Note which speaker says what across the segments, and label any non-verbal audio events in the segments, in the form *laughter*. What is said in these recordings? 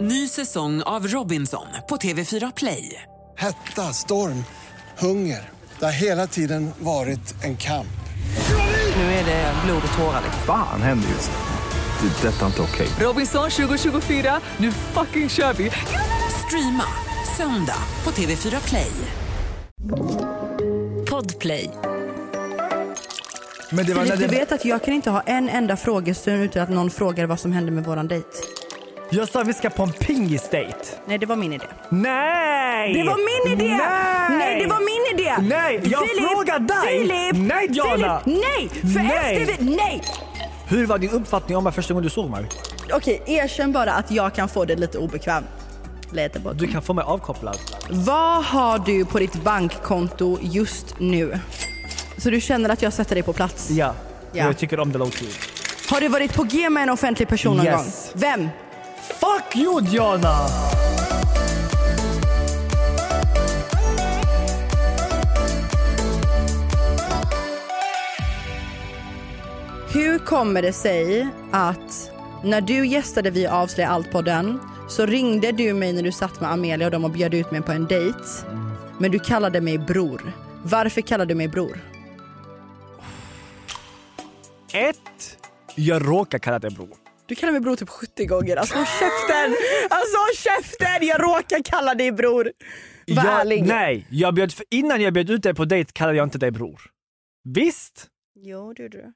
Speaker 1: Ny säsong av Robinson på TV4 Play.
Speaker 2: Hetta, storm, hunger. Det har hela tiden varit en kamp.
Speaker 1: Nu är det blod och tårar. liksom.
Speaker 3: Fan händer just nu. Det. är Detta är inte okej.
Speaker 1: Robinson 2024, nu fucking kör vi! Streama söndag på TV4 Play.
Speaker 4: Podplay.
Speaker 5: Men det var när
Speaker 4: Filip, du
Speaker 5: det...
Speaker 4: vet att jag kan inte ha en enda frågestund utan att någon frågar vad som hände med våran dejt.
Speaker 5: Jag sa vi ska på en pingisdejt.
Speaker 4: Nej, det var min idé.
Speaker 5: Nej!
Speaker 4: Det var min idé!
Speaker 5: Nej!
Speaker 4: det var min idé!
Speaker 5: Nej, jag frågar dig!
Speaker 4: Filip!
Speaker 5: Nej, Diana!
Speaker 4: Filip, nej! För
Speaker 5: Nej!
Speaker 4: efter... vi- Nej!
Speaker 5: Hur var din uppfattning om mig första gången du såg mig?
Speaker 4: Okej, erkänn bara att jag kan få det lite obekvämt. Lite bort.
Speaker 5: Du kan få mig avkopplad.
Speaker 4: Vad har du på ditt bankkonto just nu? Så du känner att jag sätter dig på plats?
Speaker 5: Ja.
Speaker 4: Ja.
Speaker 5: Jag tycker om det low key.
Speaker 4: Har du varit på G med en offentlig person någon
Speaker 5: Yes.
Speaker 4: gång? Vem?
Speaker 5: Fuck you Diana!
Speaker 4: Hur kommer det sig att när du gästade Vi avslöjar allt-podden så ringde du mig när du satt med Amelia och de och bjöd ut mig på en dejt. Men du kallade mig bror. Varför kallade du mig bror?
Speaker 5: Ett. Jag råkar kalla dig bror.
Speaker 4: Du kallade mig bror typ 70 gånger. Alltså håll käften! Alltså håll käften! Jag råkar kalla dig bror. Var
Speaker 5: jag,
Speaker 4: ärlig.
Speaker 5: Nej, jag bjöd, för innan jag bjöd ut dig på dejt kallade jag inte dig bror. Visst?
Speaker 4: Jo, det gjorde du.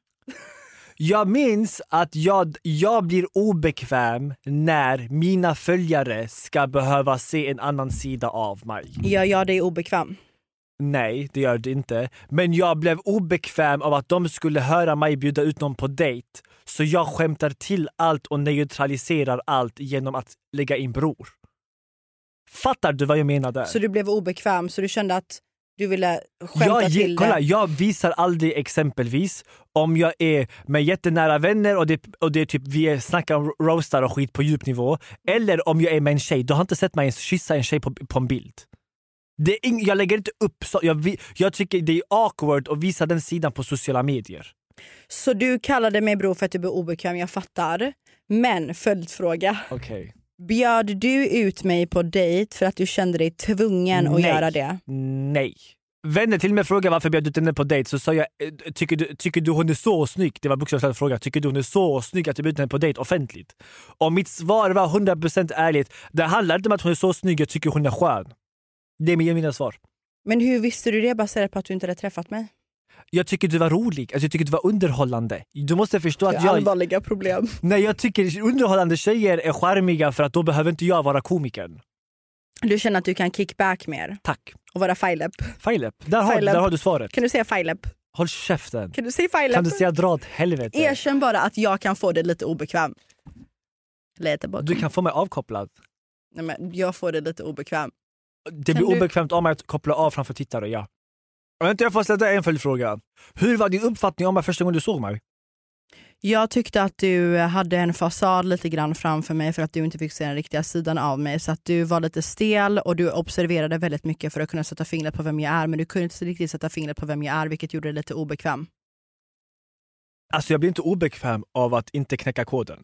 Speaker 5: Jag minns att jag, jag blir obekväm när mina följare ska behöva se en annan sida av mig.
Speaker 4: Gör jag dig obekväm?
Speaker 5: Nej, det gör det inte. Men jag blev obekväm av att de skulle höra mig bjuda ut någon på dejt. Så jag skämtar till allt och neutraliserar allt genom att lägga in bror. Fattar du vad jag menar där?
Speaker 4: Så du blev obekväm så du kände att du ville skämta
Speaker 5: jag, ge-
Speaker 4: till
Speaker 5: kolla,
Speaker 4: det?
Speaker 5: jag visar aldrig exempelvis om jag är med jättenära vänner och det, och det är typ vi är- snackar om roastar och skit på djupnivå. Eller om jag är med en tjej. Du har inte sett mig ens kyssa en tjej på, på en bild. Det är ing, jag lägger inte upp så. Jag, vi- jag tycker det är awkward att visa den sidan på sociala medier.
Speaker 4: Så du kallade mig bror för att du blev obekväm, jag fattar. Men följdfråga.
Speaker 5: Okej.
Speaker 4: Bjöd du ut mig på dejt för att du kände dig tvungen att
Speaker 5: Nej.
Speaker 4: göra det?
Speaker 5: Nej. Vänner till mig frågade varför bjöd du ut henne på dejt så sa jag eh, tycker du, tycker du hon är så snygg? Det var bokstavligt fråga. Tycker du hon är så snygg att du bjöd ut henne på dejt offentligt? Om mitt svar var 100% ärligt, det handlar inte om att hon är så snygg, jag tycker hon är skön. Det är mina svar.
Speaker 4: Men hur visste du det baserat på att du inte hade träffat mig?
Speaker 5: Jag tycker du var rolig, alltså jag tycker du var underhållande. Du måste förstå
Speaker 4: Det
Speaker 5: att
Speaker 4: är
Speaker 5: jag...
Speaker 4: allvarliga problem.
Speaker 5: Nej, jag tycker underhållande tjejer är charmiga för att då behöver inte jag vara komikern.
Speaker 4: Du känner att du kan kickback mer
Speaker 5: Tack.
Speaker 4: och vara filep.
Speaker 5: Filip, där, har-
Speaker 4: Filip.
Speaker 5: där har du svaret.
Speaker 4: Kan du säga filep?
Speaker 5: Håll käften.
Speaker 4: Kan du säga filep?
Speaker 5: Kan du säga dra åt helvete?
Speaker 4: Erkänn bara att jag kan få det lite obekväm. Lite bort.
Speaker 5: Du kan få mig avkopplad.
Speaker 4: Nej, men jag får det lite obekväm.
Speaker 5: Det
Speaker 4: Kan
Speaker 5: blir
Speaker 4: du-
Speaker 5: obekvämt av mig att koppla av framför tittare, ja. Och vänta, jag får ställa en följdfråga. Hur var din uppfattning om mig första gången du såg mig?
Speaker 4: Jag tyckte att du hade en fasad lite grann framför mig för att du inte fick se den riktiga sidan av mig. Så att du var lite stel och du observerade väldigt mycket för att kunna sätta fingret på vem jag är. Men du kunde inte riktigt sätta fingret på vem jag är vilket gjorde det lite obekväm.
Speaker 5: Alltså jag blir inte obekväm av att inte knäcka koden.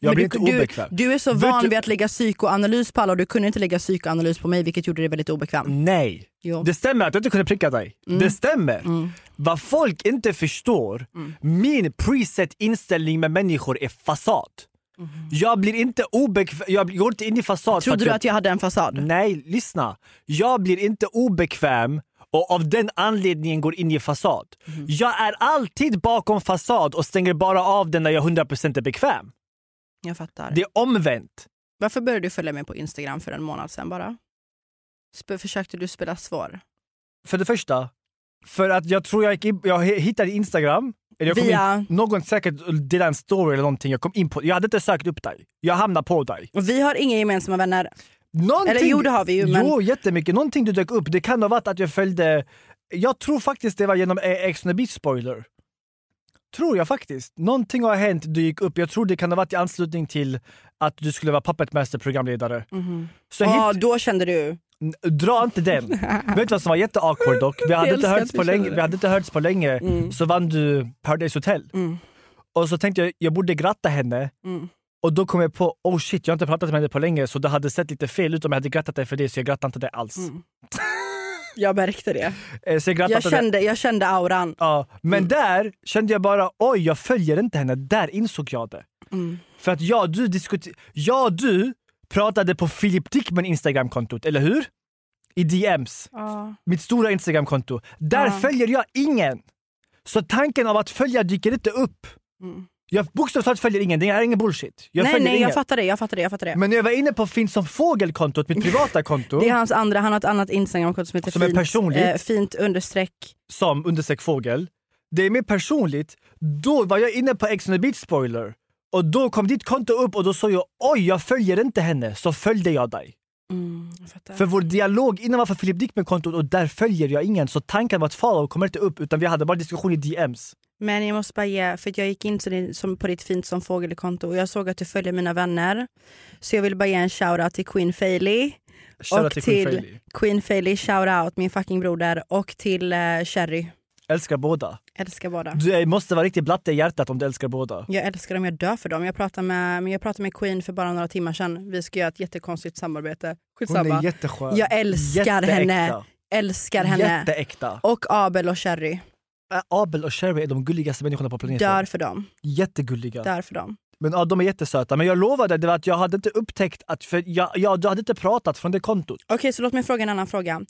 Speaker 5: Jag
Speaker 4: Men
Speaker 5: blir
Speaker 4: du,
Speaker 5: inte
Speaker 4: du,
Speaker 5: obekväm.
Speaker 4: du är så
Speaker 5: Vet
Speaker 4: van
Speaker 5: du-
Speaker 4: vid att lägga psykoanalys på alla och du kunde inte lägga psykoanalys på mig vilket gjorde det väldigt obekväm.
Speaker 5: Nej.
Speaker 4: Jo. Mm.
Speaker 5: Det stämmer att jag inte kunde pricka dig. Det stämmer. Vad folk inte förstår,
Speaker 4: Mm.
Speaker 5: min preset inställning med människor är fasad. Jag blir inte obekväm, jag blir- går inte in i fasad. för
Speaker 4: Trodde Mm. du att jag hade en fasad?
Speaker 5: Nej, lyssna. Jag blir inte obekväm och av den anledningen går in i fasad. Jag är alltid bakom fasad och stänger bara av den när jag 100% är bekväm.
Speaker 4: Jag fattar.
Speaker 5: Det är omvänt.
Speaker 4: Varför började du följa mig på Instagram för en månad sedan bara? Sp- försökte du spela svår?
Speaker 5: För det första, för att jag tror jag, gick in, jag hittade Instagram. Eller jag kom
Speaker 4: Via-
Speaker 5: in, någon säkert delade en story eller någonting. Jag kom in på Jag hade inte sökt upp dig. Jag hamnade på dig.
Speaker 4: Och vi har inga gemensamma vänner.
Speaker 5: Någonting,
Speaker 4: Eller jo, det har vi ju, men-
Speaker 5: Jo, jättemycket. Någonting du dök upp. Det kan ha varit att jag följde... Jag tror faktiskt det var genom eh, Ex on the Beach spoiler. Tror jag faktiskt. Någonting har hänt, du gick upp. Jag tror det kan ha varit i anslutning till att du skulle vara Puppet Master programledare. Så
Speaker 4: Mhm. Ja,
Speaker 5: hit-
Speaker 4: då kände du.
Speaker 5: Dra inte
Speaker 4: *laughs*
Speaker 5: den. Vet du vad som var jätteawkward dock? Vi hade,
Speaker 4: Jag
Speaker 5: inte
Speaker 4: älskar
Speaker 5: hörts,
Speaker 4: att du
Speaker 5: på länge,
Speaker 4: känner det. Mm.
Speaker 5: vi hade inte hörts på länge,
Speaker 4: Mm.
Speaker 5: så vann du Paradise Hotel. Och så tänkte jag, jag borde gratta henne. Och då kom jag på, oh shit, jag har inte pratat med henne på länge så det hade sett lite fel ut om jag hade grattat dig för det så jag grattade inte dig alls.
Speaker 4: Jag märkte det.
Speaker 5: Eh, Så jag grattade
Speaker 4: Mm. Jag
Speaker 5: dig-
Speaker 4: kände, Mm. jag kände auran.
Speaker 5: Ja, men där kände jag bara oj, jag följer inte henne. Där insåg jag det.
Speaker 4: Mm.
Speaker 5: För att jag du, diskuter- jag och du pratade på Filip Dickman Instagramkontot, eller hur? I DMs. Mitt stora Instagramkonto. Där följer jag ingen. Så tanken av att följa dyker inte upp. Jag bokstavligt talat följer ingen. Det är ingen bullshit. Jag
Speaker 4: Mm. nej,
Speaker 5: följer
Speaker 4: nej,
Speaker 5: ingen.
Speaker 4: jag fattar det. Jag fattar det, jag fattar det.
Speaker 5: Men när jag var inne på Finn som fågelkontot,
Speaker 4: *laughs*
Speaker 5: mitt privata konto,
Speaker 4: det är hans andra, han har ett annat instagramkonto som heter
Speaker 5: Som är
Speaker 4: fint, eh,
Speaker 5: personligt.
Speaker 4: fint understreck.
Speaker 5: som understreck fågel. Det är mer personligt. Då var jag inne på Ex on the beach spoiler. Och då kom ditt konto upp och då såg jag oj, jag följer inte henne. Så följde jag dig.
Speaker 4: Jag fattar.
Speaker 5: För vår dialog innan var för Filip Dickman-kontot och där följer jag ingen. Så tanken var att follow kommer inte upp utan vi hade bara diskussion i DMs.
Speaker 4: Men jag måste bara ge, för att jag gick in så din, som på ditt fint som fågelkonto och jag såg att du följer mina vänner. Så jag vill bara ge en shoutout till Queen Failey.
Speaker 5: Shoutout
Speaker 4: och
Speaker 5: till Queen Failey.
Speaker 4: Queen Failey, shoutout min fucking broder. Och till eh, Cherry.
Speaker 5: Älskar båda.
Speaker 4: Älskar båda.
Speaker 5: Du måste vara riktigt blatte i hjärtat om du älskar båda.
Speaker 4: Jag älskar dem, jag dör för dem. Jag pratade med, men jag pratade med Queen för bara några timmar sedan. Vi ska göra ett jättekonstigt samarbete. Skitsamma.
Speaker 5: jätteskön.
Speaker 4: jag älskar henne. Älskar henne.
Speaker 5: Jätteäkta.
Speaker 4: Och Abel och Cherry.
Speaker 5: Ä- Abel och Sherry är de gulligaste människorna på planeten.
Speaker 4: Dör för dem.
Speaker 5: Jättegulliga.
Speaker 4: Dör för dem.
Speaker 5: Men ja, de är jättesöta. Men jag lovade det var att jag hade inte upptäckt att... För jag, jag, du hade inte pratat från det kontot.
Speaker 4: Okej, så låt mig fråga en annan fråga.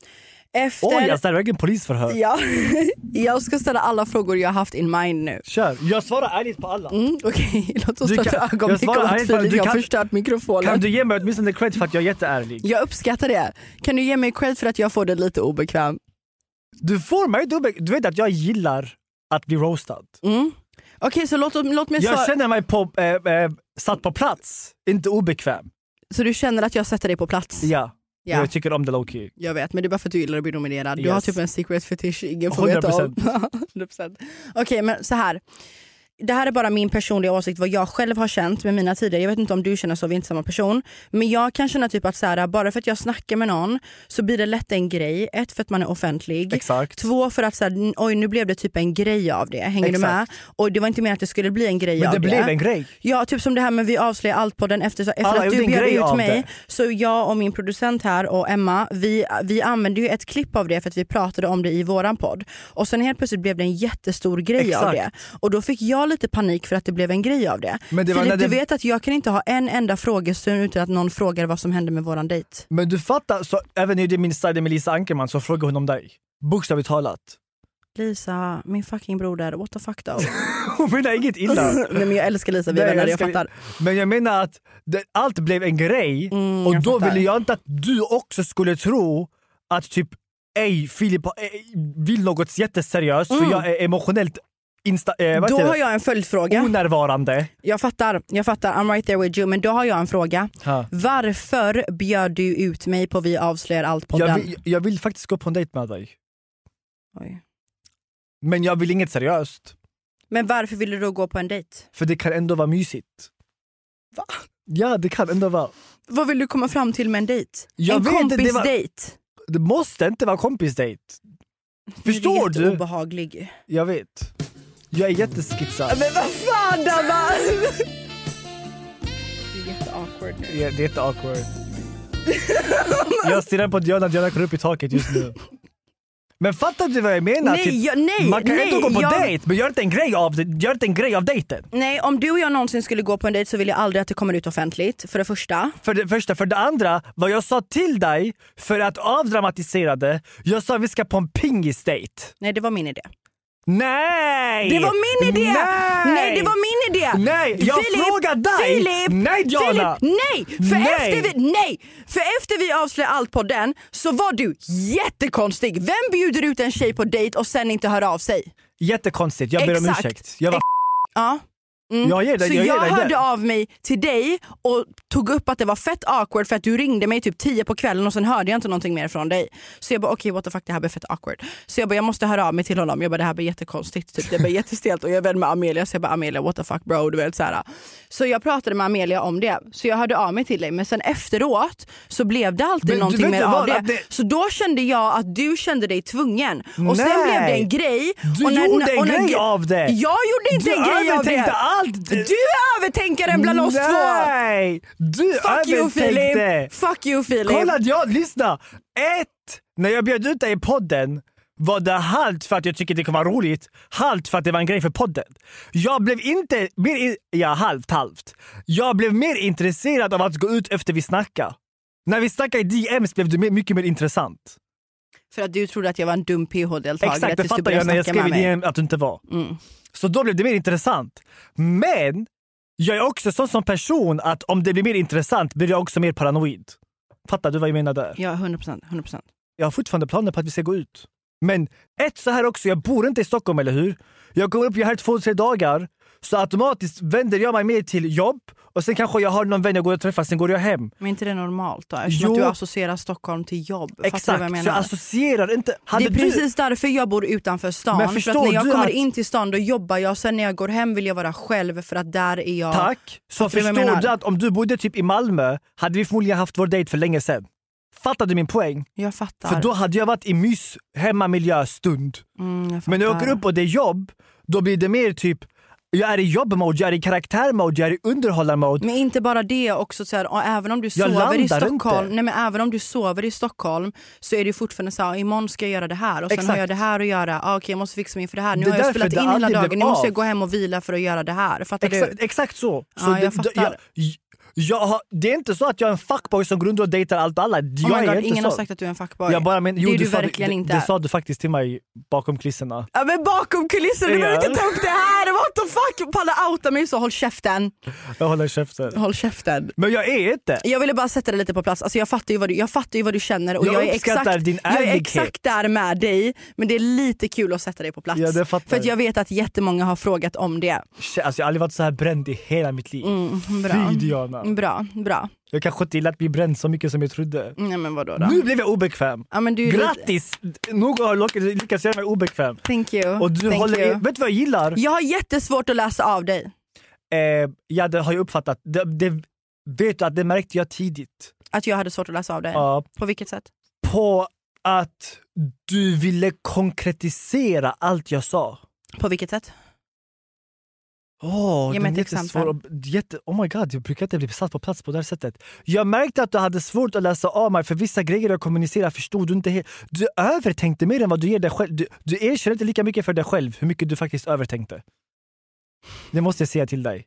Speaker 4: Efter...
Speaker 5: Oj, alltså, det här är verkligen polisförhör.
Speaker 4: Ja, *laughs* jag ska ställa alla frågor jag haft in mind nu.
Speaker 5: Kör. Jag svarar ärligt på alla.
Speaker 4: Mm, Okej, *laughs* låt oss
Speaker 5: Du
Speaker 4: ta
Speaker 5: kan-
Speaker 4: ett
Speaker 5: jag
Speaker 4: ögonblick
Speaker 5: svarar
Speaker 4: om att
Speaker 5: ärligt på det.
Speaker 4: Filip
Speaker 5: Du
Speaker 4: har
Speaker 5: kan-
Speaker 4: förstört mikrofonen.
Speaker 5: Kan du ge mig åtminstone cred för att jag är jätteärlig?
Speaker 4: Jag uppskattar det. Kan du ge mig cred för att jag får det lite obekväm?
Speaker 5: Du får mig dubbel... Du vet att jag gillar att bli roastad.
Speaker 4: Okej, så låt, låt mig svara.
Speaker 5: Jag känner mig på, eh, eh, satt på plats, inte obekväm.
Speaker 4: Så du känner att jag sätter dig på plats?
Speaker 5: Ja.
Speaker 4: Ja.
Speaker 5: Jag tycker om det lowkey.
Speaker 4: Jag vet, men det är bara för att du gillar att bli nominerad. Du
Speaker 5: Yes.
Speaker 4: har typ en secret fetish ingen får veta om. *laughs* 100%. Okej, men så här. Det här är bara min personliga åsikt, vad jag själv har känt med mina tider. Jag vet inte om du känner så, vi är inte samma person. Men jag kan känna typ att så här, bara för att jag snackar med någon så blir det lätt en grej. Ett, för att man är offentlig.
Speaker 5: Exakt.
Speaker 4: Två, för att så här, oj nu blev det typ en grej av det. Hänger du med?
Speaker 5: Exakt.
Speaker 4: Och det var inte meningen att det skulle bli en grej
Speaker 5: Men
Speaker 4: av
Speaker 5: det blev en grej.
Speaker 4: Ja, typ som det här med vi avslöjar allt på den efter, efter
Speaker 5: Alla
Speaker 4: att
Speaker 5: gjorde
Speaker 4: du
Speaker 5: en
Speaker 4: bjöd
Speaker 5: grej
Speaker 4: ut
Speaker 5: av
Speaker 4: mig.
Speaker 5: det.
Speaker 4: Så jag och min producent här och Emma, vi, vi använde ju ett klipp av det för att vi pratade om det i våran podd. Och sen helt plötsligt blev det en jättestor grej av
Speaker 5: Exakt.
Speaker 4: det. Och då fick jag lite panik för att det blev en grej av det.
Speaker 5: Men det var
Speaker 4: Filip,
Speaker 5: när det-
Speaker 4: du vet att jag kan inte ha en enda frågestund utan att någon frågar vad som hände med våran dejt.
Speaker 5: Men du fattar, så även i det min stadie med Lisa Ankerman så frågar hon om dig. Bokstavligt talat. *laughs*
Speaker 4: Lisa, min fucking broder, what the fuck *laughs* though?
Speaker 5: Hon menar inget illa.
Speaker 4: *laughs* Nej men jag älskar Lisa, vi är
Speaker 5: Nej,
Speaker 4: vänner, jag
Speaker 5: älskar-
Speaker 4: fattar.
Speaker 5: Men jag menar att det, allt blev en grej och
Speaker 4: Mm, jag
Speaker 5: då
Speaker 4: fattar.
Speaker 5: ville jag inte att du också skulle tro att typ ej, Filip har- ej, vill något jätteseriöst för jag är emotionellt insta- eh, vad
Speaker 4: Mm. Då
Speaker 5: heter det?
Speaker 4: har jag en följdfråga.
Speaker 5: onärvarande.
Speaker 4: Jag fattar, jag fattar. I'm right there with you. Men då har jag en fråga.
Speaker 5: Ja.
Speaker 4: Varför bjöd du ut mig på Vi avslöjar
Speaker 5: Jag
Speaker 4: allt-podden?
Speaker 5: vill, jag vill faktiskt gå på en dejt med dig.
Speaker 4: Oj.
Speaker 5: Men jag vill inget seriöst.
Speaker 4: Men varför ville du då gå på en dejt?
Speaker 5: För det kan ändå vara mysigt.
Speaker 4: Va?
Speaker 5: Ja, det kan ändå vara.
Speaker 4: Vad vill du komma fram till med en dejt?
Speaker 5: Jag
Speaker 4: en
Speaker 5: vet inte, det var-
Speaker 4: kompisdejt?
Speaker 5: Det måste inte vara kompisdejt. Förstår
Speaker 4: Du är
Speaker 5: du?
Speaker 4: obehaglig.
Speaker 5: Jag vet. Jag är jätteskitsad.
Speaker 4: Men vad fan Dabban! Det är jätteawkward nu.
Speaker 5: Ja, Det är inte awkward. jag stirrar på Diana, Diana går upp i taket just nu. Men fattar du vad jag menar? Typ,
Speaker 4: Nej, jag, nej,
Speaker 5: man kan
Speaker 4: nej,
Speaker 5: ändå gå på
Speaker 4: jag,
Speaker 5: dejt, men gör inte en grej av det. Gör inte en grej av dejten.
Speaker 4: Nej, om du och jag någonsin skulle gå på en dejt så vill jag aldrig att det kommer ut offentligt, för det första.
Speaker 5: För det första. För det andra, vad jag sa till dig för att avdramatisera det. Jag sa vi ska på en pingisdejt.
Speaker 4: Nej, det var min idé.
Speaker 5: Nej!
Speaker 4: Det var min idé!
Speaker 5: Nej!
Speaker 4: Nej, det var min idé!
Speaker 5: Nej, jag
Speaker 4: Filip,
Speaker 5: frågar dig!
Speaker 4: Filip!
Speaker 5: Nej, Diana!
Speaker 4: Filip, nej! För,
Speaker 5: Nej!
Speaker 4: Efter vi, nej! För efter vi avslöjade allt på den så var du jättekonstig. Vem bjuder ut en tjej på dejt och sen inte hör av sig?
Speaker 5: Jättekonstigt, jag ber om
Speaker 4: Exakt.
Speaker 5: ursäkt. Jag, var,
Speaker 4: Ja. Mm.
Speaker 5: jag ger dig,
Speaker 4: Så
Speaker 5: jag
Speaker 4: jag,
Speaker 5: ger dig
Speaker 4: hörde
Speaker 5: den.
Speaker 4: av mig till dig och tog upp att det var fett awkward för att du ringde mig typ 10 på kvällen och sen hörde jag inte någonting mer från dig. Så jag bara okej what the fuck det här blir fett awkward. Så jag bara jag måste höra av mig till honom. Jag bara det här blir jättekonstigt. Typ. Det blir jättestelt och jag är vän med Amelia så jag bara Amelia what the fuck bro. Du vet, så, här. så jag pratade med Amelia om det. Så jag hörde av mig till dig men sen efteråt så blev det alltid
Speaker 5: Men du
Speaker 4: någonting
Speaker 5: vet
Speaker 4: mer
Speaker 5: inte
Speaker 4: av
Speaker 5: vad,
Speaker 4: det.
Speaker 5: att det-
Speaker 4: Så då kände jag att du kände dig tvungen. Och sen
Speaker 5: Nej.
Speaker 4: blev det en grej.
Speaker 5: Du
Speaker 4: och när,
Speaker 5: gjorde en
Speaker 4: och när,
Speaker 5: grej av det.
Speaker 4: Jag gjorde inte
Speaker 5: Du
Speaker 4: en grej av det.
Speaker 5: övertänkte allt!
Speaker 4: Du är övertänkaren bland oss två!
Speaker 5: Nej! Du
Speaker 4: Fuck you
Speaker 5: övertänkte!
Speaker 4: Filip! Fuck you Filip!
Speaker 5: Kolla, att jag, lyssna! Ett! När jag bjöd ut dig i podden var det halvt för att jag tycker det kommer vara roligt, halvt för att det var en grej för podden. Jag blev inte mer... In, ja, halvt, halvt. Jag blev mer intresserad av att gå ut efter vi snackade. När vi snackade i DMs blev du mer- mycket mer intressant.
Speaker 4: För att du trodde att jag var en dum PH-deltagare.
Speaker 5: Exakt, det
Speaker 4: tills du
Speaker 5: fattar
Speaker 4: började
Speaker 5: jag när jag
Speaker 4: snacka
Speaker 5: skrev i
Speaker 4: med mig. Mm.
Speaker 5: DM att du inte var. Så då blev det mer intressant. Men jag är också sån som person att om det blir mer intressant blir jag också mer paranoid. Fattar du vad jag menar där?
Speaker 4: Ja, 100%. 100%.
Speaker 5: Jag har fortfarande planer på att vi ska gå ut. Men ett så här också, jag bor inte i Stockholm, eller hur? Jag kommer upp, jag är här två, tre dagar. Så automatiskt vänder jag mig mer till jobb och sen kanske jag har någon vän jag går och träffar, sen går jag hem.
Speaker 4: Men inte det normalt då? Eftersom
Speaker 5: Jo.
Speaker 4: att du associerar Stockholm till jobb. Fattar du
Speaker 5: Exakt,
Speaker 4: vad jag menar?
Speaker 5: så jag associerar inte.
Speaker 4: det
Speaker 5: Hade
Speaker 4: är precis därför jag bor utanför stan.
Speaker 5: Men
Speaker 4: För
Speaker 5: förstår
Speaker 4: att när jag
Speaker 5: du
Speaker 4: kommer
Speaker 5: att-
Speaker 4: in till stan då jobbar jag, sen när jag går hem vill jag vara själv för att där är jag.
Speaker 5: du, tack, så
Speaker 4: du vad jag menar?
Speaker 5: förstår du att om du bodde typ i Malmö hade vi förmodligen haft vår dejt för länge sedan. Fattar du min poäng?
Speaker 4: Jag fattar.
Speaker 5: För då hade jag varit i mys hemmamiljöstund.
Speaker 4: Mm, jag fattar.
Speaker 5: Men när jag åker upp och det är jobb, då blir det mer typ jag är i jobb-mode, jag är i karaktär-mode, jag är i underhållar-mode.
Speaker 4: Men inte bara det, också så här, ja, även om du
Speaker 5: Jag
Speaker 4: sover i
Speaker 5: landar
Speaker 4: Stockholm
Speaker 5: inte.
Speaker 4: nej, men även om du sover i Stockholm så är det ju fortfarande så här, imorgon ska jag göra det här och sen har
Speaker 5: Exakt.
Speaker 4: jag det här att göra, ah, okej jag måste fixa mig inför det här, nu
Speaker 5: Det är
Speaker 4: har jag
Speaker 5: därför
Speaker 4: spelat
Speaker 5: det
Speaker 4: in hela
Speaker 5: aldrig
Speaker 4: dagen,
Speaker 5: blev
Speaker 4: nu måste jag
Speaker 5: av.
Speaker 4: gå hem och vila för att göra det här. Fattar
Speaker 5: Exakt,
Speaker 4: du? Oh
Speaker 5: exakt så. så
Speaker 4: Ja, jag
Speaker 5: det,
Speaker 4: fattar.
Speaker 5: jag, jag har, det är inte så att jag är en fuckboy som går runt och dejtar allt och alla. Jag
Speaker 4: Oh
Speaker 5: är
Speaker 4: my God,
Speaker 5: inte
Speaker 4: ingen
Speaker 5: så.
Speaker 4: har sagt att du är en fuckboy.
Speaker 5: jag bara, men, jo,
Speaker 4: det är
Speaker 5: du
Speaker 4: du
Speaker 5: sa
Speaker 4: verkligen
Speaker 5: det,
Speaker 4: inte.
Speaker 5: Det, det sa du faktiskt till mig bakom kulisserna.
Speaker 4: Ja, men bakom kulisserna, du
Speaker 5: Ja.
Speaker 4: behöver inte ta upp det här! What the fuck! Palla outa mig så, håll käften!
Speaker 5: Jag håller käften.
Speaker 4: Håll käften.
Speaker 5: Men jag är inte.
Speaker 4: Jag ville bara sätta det lite på plats. Alltså jag, fattar ju vad du, jag fattar ju vad du känner och
Speaker 5: Jag
Speaker 4: jag, är,
Speaker 5: uppskattar
Speaker 4: exakt,
Speaker 5: din
Speaker 4: jag är
Speaker 5: ärlighet.
Speaker 4: exakt där med dig. Men det är lite kul att sätta dig på plats.
Speaker 5: Ja, det fattar
Speaker 4: för att
Speaker 5: jag.
Speaker 4: jag vet att jättemånga har frågat om det.
Speaker 5: Shit, Alltså, jag har aldrig varit så här bränd i hela mitt liv.
Speaker 4: Mm, Bra, Mm.
Speaker 5: Fy Diana.
Speaker 4: bra. bra.
Speaker 5: Jag kanske inte gillat att bli bränd så mycket som jag trodde.
Speaker 4: Nej, men vadå då?
Speaker 5: Nu blev jag obekväm.
Speaker 4: Ja, men du är Lite,
Speaker 5: Grattis! Nog har jag lyckats göra mig obekväm.
Speaker 4: thank you.
Speaker 5: Och du
Speaker 4: Mm, thank
Speaker 5: håller,
Speaker 4: you.
Speaker 5: vet du vad jag gillar?
Speaker 4: Jag har jättesvårt att läsa av dig.
Speaker 5: Eh, ja, det har jag uppfattat. Det, det, vet du att det märkte jag tidigt.
Speaker 4: Att jag hade svårt att läsa av dig.
Speaker 5: Ja,
Speaker 4: På vilket sätt?
Speaker 5: på att du ville konkretisera allt jag sa.
Speaker 4: På vilket sätt?
Speaker 5: Åh,
Speaker 4: Ge mig
Speaker 5: den är
Speaker 4: ett exempel.
Speaker 5: jättesvår att- jätte, oh my god, jag brukar inte bli satt på plats på det här sättet. Jag märkte att du hade svårt att läsa av mig för vissa grejer jag kommunicerade förstod du inte helt. Du övertänkte mer än vad du ger dig själv. Du, du erkänner inte lika mycket för dig själv hur mycket du faktiskt övertänkte. Det måste jag säga till dig.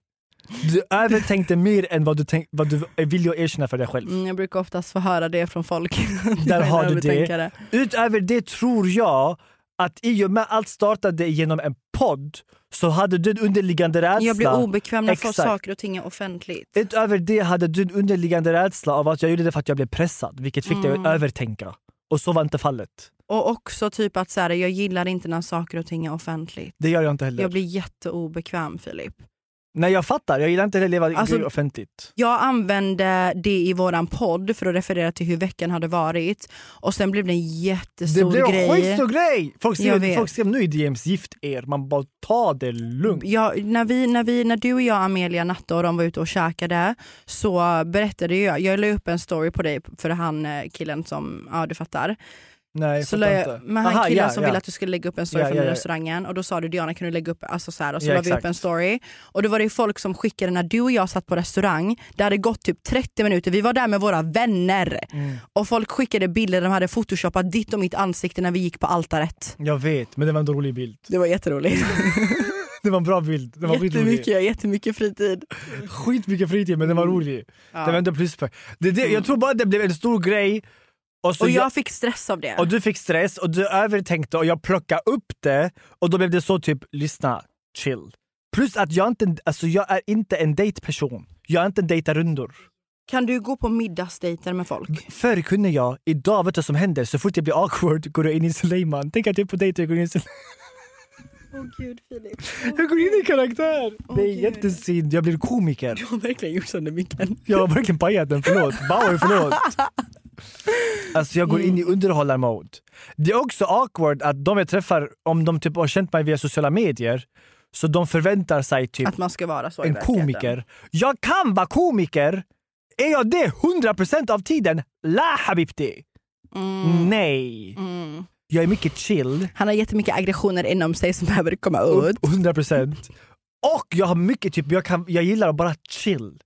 Speaker 5: Du övertänkte mer än vad du, tänk, vad du vill erkänna för dig själv.
Speaker 4: Mm, jag brukar oftast få höra det från folk. *laughs*
Speaker 5: Där har du
Speaker 4: Övertänkare.
Speaker 5: det. Utöver det tror jag att i och med allt startade genom en podd så hade du en underliggande rädsla.
Speaker 4: Jag blir obekväm när jag får
Speaker 5: Exakt.
Speaker 4: saker och ting är offentligt.
Speaker 5: Utöver det hade du en underliggande rädsla av att jag gjorde det för att jag blev pressad vilket fick dig att
Speaker 4: Mm.
Speaker 5: övertänka. Och så var inte fallet.
Speaker 4: Och också typ att så här, jag gillar inte när saker och ting är offentligt.
Speaker 5: Det gör jag inte heller.
Speaker 4: Jag blir jätteobekväm Filip.
Speaker 5: Nej jag fattar, jag gillar inte heller att leva
Speaker 4: Alltså-
Speaker 5: grejer offentligt.
Speaker 4: Jag använde det i våran podd för att referera till hur veckan hade varit och sen blev det en
Speaker 5: Det
Speaker 4: jättestor
Speaker 5: blev en
Speaker 4: grej.
Speaker 5: skitstor grej! Folk
Speaker 4: Jag
Speaker 5: skrev,
Speaker 4: vet.
Speaker 5: folk skrev nu i DMs gift er, man bara ta det lugnt.
Speaker 4: Jag, när, vi, när, vi, när du och jag, Amelia Natta och de var ute och käkade så berättade jag, jag la upp en story på dig för han eh, killen som, ja du fattar.
Speaker 5: Nej jag
Speaker 4: Så
Speaker 5: fattar
Speaker 4: la jag,
Speaker 5: inte.
Speaker 4: men han
Speaker 5: Aha,
Speaker 4: killen
Speaker 5: ja,
Speaker 4: som
Speaker 5: ja.
Speaker 4: ville att du skulle lägga upp en story
Speaker 5: Ja,
Speaker 4: från
Speaker 5: ja,
Speaker 4: den
Speaker 5: ja.
Speaker 4: restaurangen och då sa du Diana kan du lägga upp, alltså så här, och så
Speaker 5: Ja,
Speaker 4: la vi upp
Speaker 5: exakt.
Speaker 4: en story och då var det folk som skickade när du och jag satt på restaurang, det hade gått typ 30 minuter, vi var där med våra vänner
Speaker 5: Mm.
Speaker 4: och folk skickade bilder, de hade photoshopat ditt och mitt ansikte när vi gick på altaret.
Speaker 5: Jag vet, men det var en rolig bild. *laughs*
Speaker 4: Det var jätteroligt.
Speaker 5: Det var en bra bild. Det var skitrolig.
Speaker 4: jättemycket, Mm. jättemycket fritid.
Speaker 5: Skitmycket fritid men den var rolig. Det var ändå pluspoäng. Det, är det, Jag tror bara det blev en stor grej och, så
Speaker 4: Mm. Och
Speaker 5: jag,
Speaker 4: jag fick stress av det.
Speaker 5: och du fick stress och du övertänkte och jag plockade upp det och då blev det så typ lyssna, chill. Plus att jag inte, alltså jag är inte en dejtperson. Jag är inte en dejtarundor.
Speaker 4: Kan du gå på middagsdejter med folk?
Speaker 5: Förr kunde jag, idag vet du vad som händer? Så fort jag blir awkward går jag in i Suleiman. Tänk att jag är på dejt och jag går in i Suleiman.
Speaker 4: Åh gud Filip.
Speaker 5: Jag går in i karaktär! det är
Speaker 4: Gud.
Speaker 5: jättesynd, jag blir komiker.
Speaker 4: Du har verkligen gjort sönder micken.
Speaker 5: Jag har verkligen pajat den, förlåt. Bauer, förlåt. Alltså jag går in i underhållarmode. Det är också awkward att de jag träffar, om de typ har känt mig via sociala medier, så de förväntar sig typ
Speaker 4: Att man ska vara så i
Speaker 5: en
Speaker 4: verkligheten.
Speaker 5: komiker. Jag kan vara komiker! Är jag det 100% av tiden? La habibti! Nej. Jag är mycket chill.
Speaker 4: Han har jättemycket aggressioner inom sig som behöver komma ut.
Speaker 5: 100%. Och jag har mycket, typ, jag, kan, jag gillar att bara chill.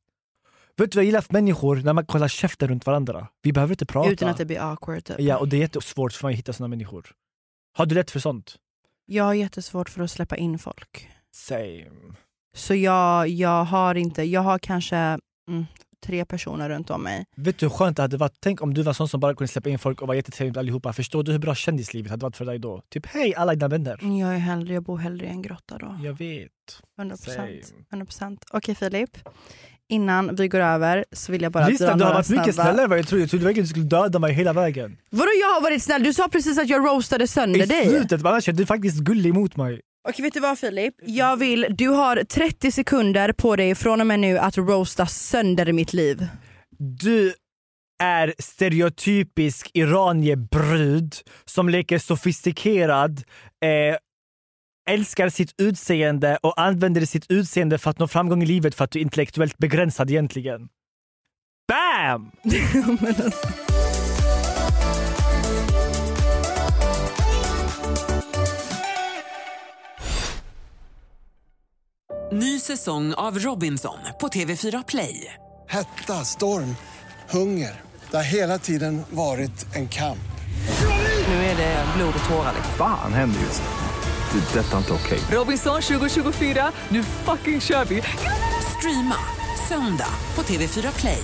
Speaker 5: Vet du vad jag gillar för människor? När man kollar käften runt varandra. Vi behöver inte prata.
Speaker 4: Utan att det blir awkward typ.
Speaker 5: Ja, och det är jättesvårt för mig att hitta såna människor. Har du lätt för sånt?
Speaker 4: Jag har jättesvårt för att släppa in folk.
Speaker 5: Same.
Speaker 4: Så jag, jag har inte, jag har kanske mm, tre personer runt om mig.
Speaker 5: Vet du hur skönt det hade varit? Tänk om du var sån som bara kunde släppa in folk och var jättetrevlig med allihopa. Förstår du hur bra kändislivet hade varit för dig då? Typ hej alla dina vänner.
Speaker 4: Mm, Jag, är hellre, jag bor hellre i en grotta då.
Speaker 5: Jag vet.
Speaker 4: 100 procent.
Speaker 5: Same.
Speaker 4: 100 procent. Okej Filip, innan vi går över så vill jag bara
Speaker 5: Lyssna,
Speaker 4: dra
Speaker 5: du har
Speaker 4: några
Speaker 5: varit mycket
Speaker 4: snabba-
Speaker 5: snällare än vad jag trodde. Jag trodde verkligen du skulle döda mig hela vägen.
Speaker 4: Vadå jag har varit snäll? Du sa precis att jag roastade sönder
Speaker 5: I
Speaker 4: dig.
Speaker 5: slutet, men annars är du faktiskt gullig mot mig.
Speaker 4: Okej vet du vad Filip?
Speaker 5: Mm.
Speaker 4: Jag vill, du har 30 sekunder på dig från och med nu att roasta sönder mitt liv.
Speaker 5: Du är stereotypisk iranierbrud som leker sofistikerad, eh, älskar sitt utseende och använder sitt utseende för att nå framgång i livet för att du är intellektuellt begränsad egentligen. Bam!
Speaker 1: Ny säsong av Robinson på TV4 Play.
Speaker 2: Hetta, storm, hunger. Det har hela tiden varit en kamp.
Speaker 1: Nu är det blod och tårar.
Speaker 3: Fan händer just det. Det är detta inte okej.
Speaker 1: Robinson 2024, nu fucking kör vi! Streama söndag på TV4 Play.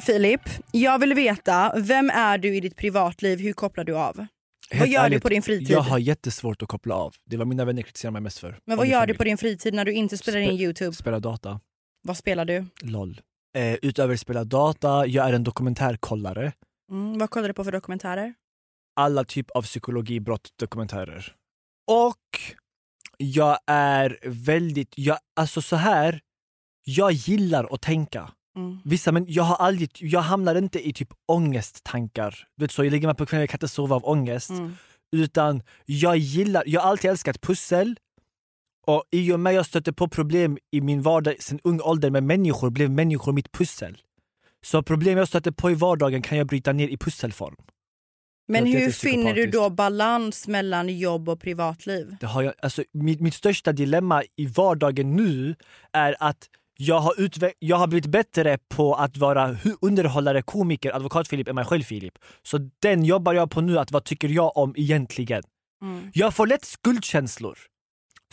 Speaker 4: Filip, jag vill veta, vem är du i ditt privatliv? Hur kopplar du av? Vad
Speaker 5: Helt
Speaker 4: gör du
Speaker 5: ärligt,
Speaker 4: på din fritid?
Speaker 5: Jag har jättesvårt att koppla av. Det var mina vänner kritiserar mig mest för.
Speaker 4: Men vad gör du på din fritid när du inte spelar in Youtube?
Speaker 5: Spela data.
Speaker 4: Vad spelar du?
Speaker 5: LOL. Eh, utöver spela data, jag är en dokumentärkollare.
Speaker 4: Mm, vad kollar du på för dokumentärer?
Speaker 5: alla typ av psykologibrott dokumentärer. Och jag är väldigt, jag, alltså så här, jag gillar att tänka.
Speaker 4: Mm.
Speaker 5: Vissa, men jag har aldrig, jag hamnar inte i typ ångesttankar. Du vet så, jag ligger mig på kvällen, jag kan inte sova av ångest.
Speaker 4: Mm.
Speaker 5: Utan jag gillar, jag har alltid älskat pussel. Och i och med jag stötte på problem i min vardag sen ung ålder med människor blev människor mitt pussel. Så problem jag stötte på i vardagen kan jag bryta ner i pusselform.
Speaker 4: Men
Speaker 5: Jag vet,
Speaker 4: hur
Speaker 5: det är
Speaker 4: finner du då
Speaker 5: psykopatiskt.
Speaker 4: balans mellan jobb och privatliv?
Speaker 5: Det har jag, alltså, mitt, mitt största dilemma i vardagen nu är att jag har, utve- jag har blivit bättre på att vara hu- underhållare, komiker, advokat Filip är mig själv Filip. Så den jobbar jag på nu, att vad tycker jag om egentligen?
Speaker 4: Mm.
Speaker 5: Jag får lätt skuldkänslor.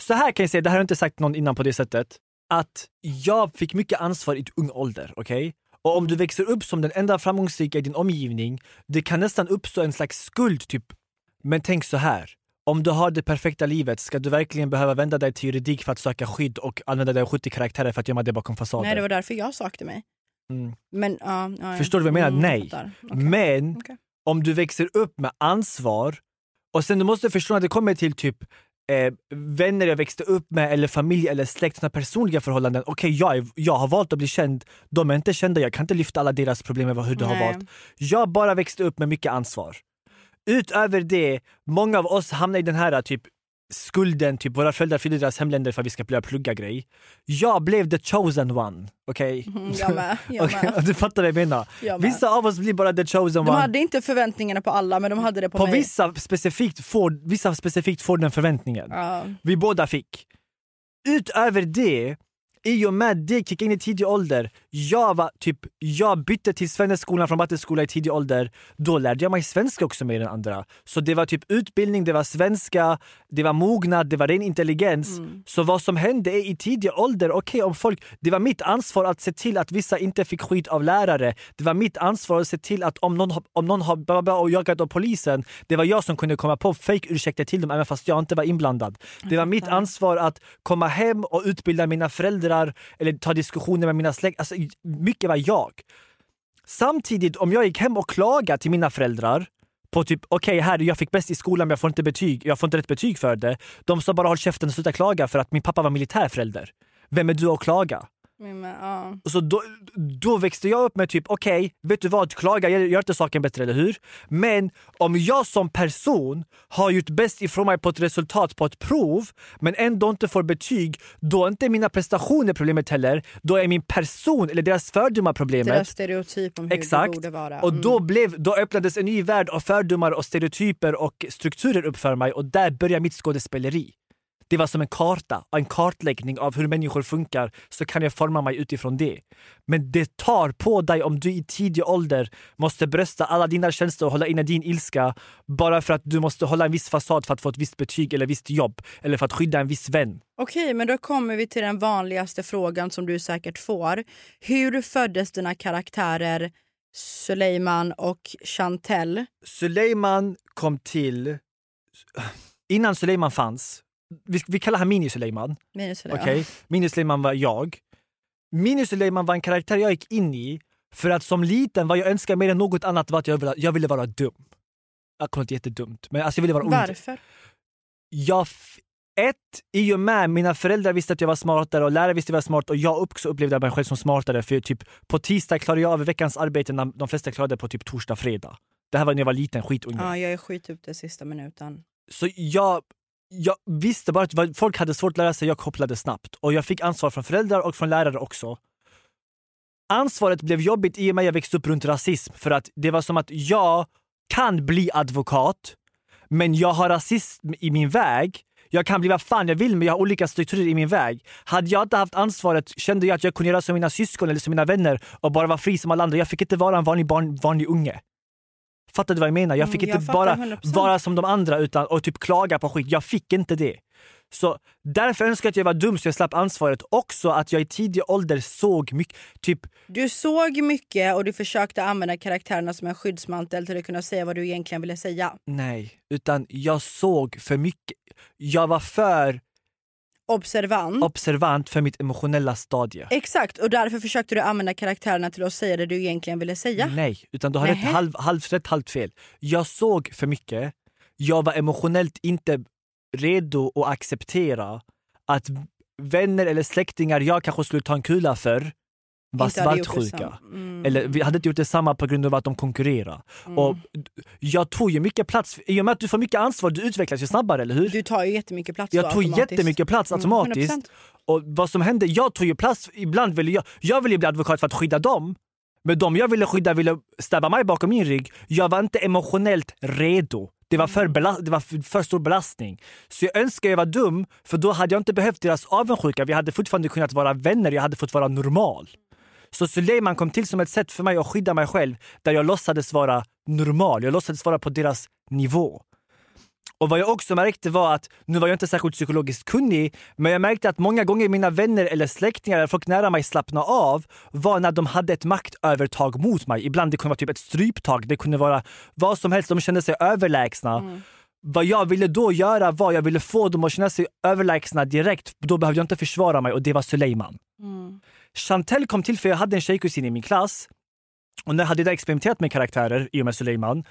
Speaker 5: Så här kan jag säga, det här har jag inte sagt någon innan på det sättet. Att jag fick mycket ansvar i ung ålder, okej? Och om du växer upp som den enda framgångsrika i din omgivning, det kan nästan uppstå en slags skuld typ. Men tänk så här. Om du har det perfekta livet, ska du verkligen behöva vända dig till juridik för att söka skydd och använda dig av 70 karaktärer för att gömma dig bakom fasaden?
Speaker 4: Nej, det var därför jag sökte mig.
Speaker 5: Mm.
Speaker 4: Men, ja, ja, ja.
Speaker 5: Förstår du vad jag menar?
Speaker 4: Mm,
Speaker 5: Nej.
Speaker 4: fattar. Okej.
Speaker 5: Men
Speaker 4: Okej.
Speaker 5: om du växer upp med ansvar och sen du måste förstå när det kommer till typ eh, vänner jag växte upp med eller familj eller släkt, såna personliga förhållanden. Okej, jag, är- jag har valt att bli känd. De är inte kända, jag kan inte lyfta alla deras problem över hur du har
Speaker 4: Nej.
Speaker 5: valt. Jag bara växte upp med mycket ansvar. Utöver det, många av oss hamnar i den här typ skulden, typ våra föräldrar flydde deras hemländer för att vi ska börja plugga grej. Jag blev the chosen one, okej?
Speaker 4: Mm,
Speaker 5: *laughs*
Speaker 4: Jag med. Jag
Speaker 5: Okej,
Speaker 4: med.
Speaker 5: Du fattar vad jag menar.
Speaker 4: Jag med.
Speaker 5: Vissa av oss blir bara the chosen
Speaker 4: De
Speaker 5: one.
Speaker 4: hade inte förväntningarna på alla men de hade det på,
Speaker 5: På
Speaker 4: mig.
Speaker 5: vissa specifikt, får, vissa specifikt får den förväntningen.
Speaker 4: Ja.
Speaker 5: Vi båda fick. Utöver det, i och med det kickade in i tidig ålder. Jag, var, typ, jag bytte till svenneskolan från matteskola i tidig ålder. Då lärde jag mig svenska också med den andra. Så det var typ utbildning, det var svenska, det var mognad, det var ren intelligens.
Speaker 4: Mm.
Speaker 5: Så vad som hände är i tidig ålder, okej om folk... Det var mitt ansvar att se till att vissa inte fick skit av lärare. Det var mitt ansvar att se till att om någon, har- om någon har bla bla bla och jagat av polisen, det var jag som kunde komma på fake ursäkter till dem även fast jag inte var inblandad. Det var mitt ansvar att komma hem och utbilda mina föräldrar eller ta diskussioner med mina släkt. Alltså, mycket var jag. Samtidigt, om jag gick hem och klagade till mina föräldrar på typ okej, här jag fick bäst i skolan men jag får inte betyg, jag får inte rätt betyg för det. De sa bara håll käften och sluta klaga för att min pappa var militärförälder. Vem är du att klaga?
Speaker 4: Men, men, ja.
Speaker 5: Och Så då, då växte jag upp med typ, okej, vet du vad, klaga gör, gör inte saken bättre, eller hur? Men om jag som person har gjort bäst ifrån mig på ett resultat på ett prov, men ändå inte får betyg, då är inte mina prestationer problemet heller. Då är min person, eller deras fördomar problemet.
Speaker 4: Deras stereotyp om hur det
Speaker 5: Exakt.
Speaker 4: borde vara.
Speaker 5: Och
Speaker 4: Mm.
Speaker 5: då, blev, då öppnades en ny värld av fördomar och stereotyper och strukturer upp för mig och där började mitt skådespeleri. Det var som en karta, en kartläggning av hur människor funkar så kan jag forma mig utifrån det. Men det tar på dig om du i tidig ålder måste brösta alla dina känslor och hålla inne din ilska bara för att du måste hålla en viss fasad för att få ett visst betyg eller visst jobb eller för att skydda en viss vän.
Speaker 4: Okej, men då kommer vi till den vanligaste frågan som du säkert får. Hur föddes dina karaktärer Suleiman och Chantel?
Speaker 5: Suleiman kom till... *sighs* Innan Suleiman fanns, vi, vi kallar han Mini-Suleiman.
Speaker 4: Minus eller?
Speaker 5: Okej, Minus Lehman var jag. Minus Lehman var en karaktär jag gick in i för att som liten, vad jag önskade mer än något annat var att jag ville, jag ville vara dum. Jag kommer inte jättedumt, men alltså jag ville vara ond.
Speaker 4: Varför?
Speaker 5: Jag f- ett, i och med mina föräldrar visste att jag var smartare och lärare visste att jag var smart och jag också upplevde mig själv som smartare för typ på tisdag klarade jag av veckans arbete när de flesta klarade på typ torsdag, fredag. Det här var när jag var liten, skitunge.
Speaker 4: Ja, jag är skit upp det sista minuten.
Speaker 5: Så jag, jag visste bara att vad- folk hade svårt att lära sig, jag kopplade snabbt. Och jag fick ansvar från föräldrar och från lärare också. Ansvaret blev jobbigt i och med att jag växte upp runt rasism. För att det var som att jag kan bli advokat, men jag har rasism i min väg. Jag kan bli vad fan jag vill men jag har olika strukturer i min väg. Hade jag inte haft ansvaret kände jag att jag kunde göra som mina syskon eller som mina vänner och bara vara fri som alla andra. Jag fick inte vara en vanlig, barn, vanlig unge. Fattar du vad jag menar? Jag
Speaker 4: Mm,
Speaker 5: fick
Speaker 4: jag
Speaker 5: inte
Speaker 4: fattar
Speaker 5: bara
Speaker 4: 100%.
Speaker 5: vara som de andra utan, och typ klaga på skit. Jag fick inte det. Så därför önskar jag att jag var dum så jag slapp ansvaret. Också att jag i tidig ålder såg mycket, typ
Speaker 4: Du såg mycket och du försökte använda karaktärerna som en skyddsmantel till att kunna säga vad du egentligen ville säga.
Speaker 5: nej, utan jag såg för mycket. Jag var
Speaker 4: Mm.
Speaker 5: för
Speaker 4: Observant.
Speaker 5: observant för mitt emotionella stadie.
Speaker 4: Exakt, och därför försökte du använda karaktärerna till att säga det du egentligen ville säga.
Speaker 5: Nej, utan du har rätt,
Speaker 4: Nähä.
Speaker 5: halv, halvt rätt, halvt fel. Jag såg för mycket. Jag var emotionellt inte redo att acceptera att vänner eller släktingar jag kanske skulle ta en kula för var
Speaker 4: Inte hade gjort det
Speaker 5: svartsjuka.
Speaker 4: sam- Mm.
Speaker 5: Eller vi hade inte gjort detsamma på grund av att de konkurrerar. Och jag tog ju mycket plats. I och med att du får mycket ansvar, du utvecklas ju snabbare, eller hur?
Speaker 4: Du tar ju jättemycket plats då
Speaker 5: jag tog
Speaker 4: automatiskt.
Speaker 5: jättemycket plats
Speaker 4: Mm,
Speaker 5: automatiskt.
Speaker 4: 100%.
Speaker 5: och vad som hände, jag tog ju plats. Ibland ville jag, jag ville ju bli advokat för att skydda dem. Men de jag ville skydda ville stabba mig bakom min rygg. Jag var inte emotionellt redo. Det var
Speaker 4: Mm.
Speaker 5: för, bela- det var för, för stor belastning. Så jag önskar jag var dum, för då hade jag inte behövt deras avundsjuka. Vi hade fortfarande kunnat vara vänner, jag hade fått vara normal. Så Suleiman kom till som ett sätt för mig att skydda mig själv där jag låtsades vara normal. Jag låtsades vara på deras nivå. Och vad jag också märkte var att, nu var jag inte särskilt psykologiskt kunnig, men jag märkte att många gånger mina vänner eller släktingar eller folk nära mig slappna av var när de hade ett maktövertag mot mig. Ibland det kunde vara typ ett stryptag, det kunde vara vad som helst. De kände sig överlägsna. Vad jag ville då göra var jag ville få dem att känna sig överlägsna direkt. Då behövde jag inte försvara mig och det var Suleiman.
Speaker 4: Mm.
Speaker 5: Chantel kom till för jag hade en tjejkusin i min klass och när jag hade jag experimenterat med karaktärer i och med Suleiman.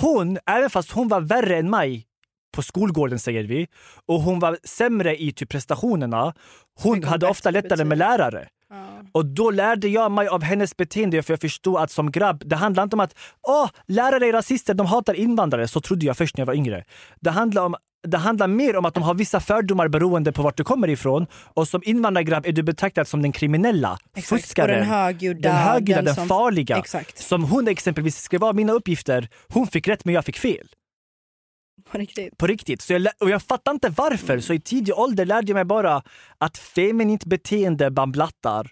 Speaker 5: Hon, även fast hon var värre än mig på skolgården säger vi och hon var sämre i typ prestationerna. Hon
Speaker 4: hon
Speaker 5: hade ofta
Speaker 4: bättre
Speaker 5: lättare med
Speaker 4: betyg.
Speaker 5: lärare. Och då lärde jag mig av hennes beteende för jag förstod att som grabb, det handlar inte om att åh, lärare är rasister, de hatar invandrare. Så trodde jag först när jag var yngre. Det handlar, om, det handlar mer om att de har vissa fördomar beroende på vart du kommer ifrån och som invandrargrabb är du betraktad som den kriminella,
Speaker 4: Exakt.
Speaker 5: fuskaren,
Speaker 4: Och den högljudda,
Speaker 5: den, högljudda,
Speaker 4: den
Speaker 5: den
Speaker 4: som-
Speaker 5: farliga.
Speaker 4: Exakt.
Speaker 5: Som hon exempelvis skrev av mina uppgifter, hon fick rätt men jag fick fel
Speaker 4: *laughs* På riktigt.
Speaker 5: på riktigt. Så jag, lä- och jag fattar inte varför. Så i tidig ålder lärde jag mig bara att feminint beteende bland blattar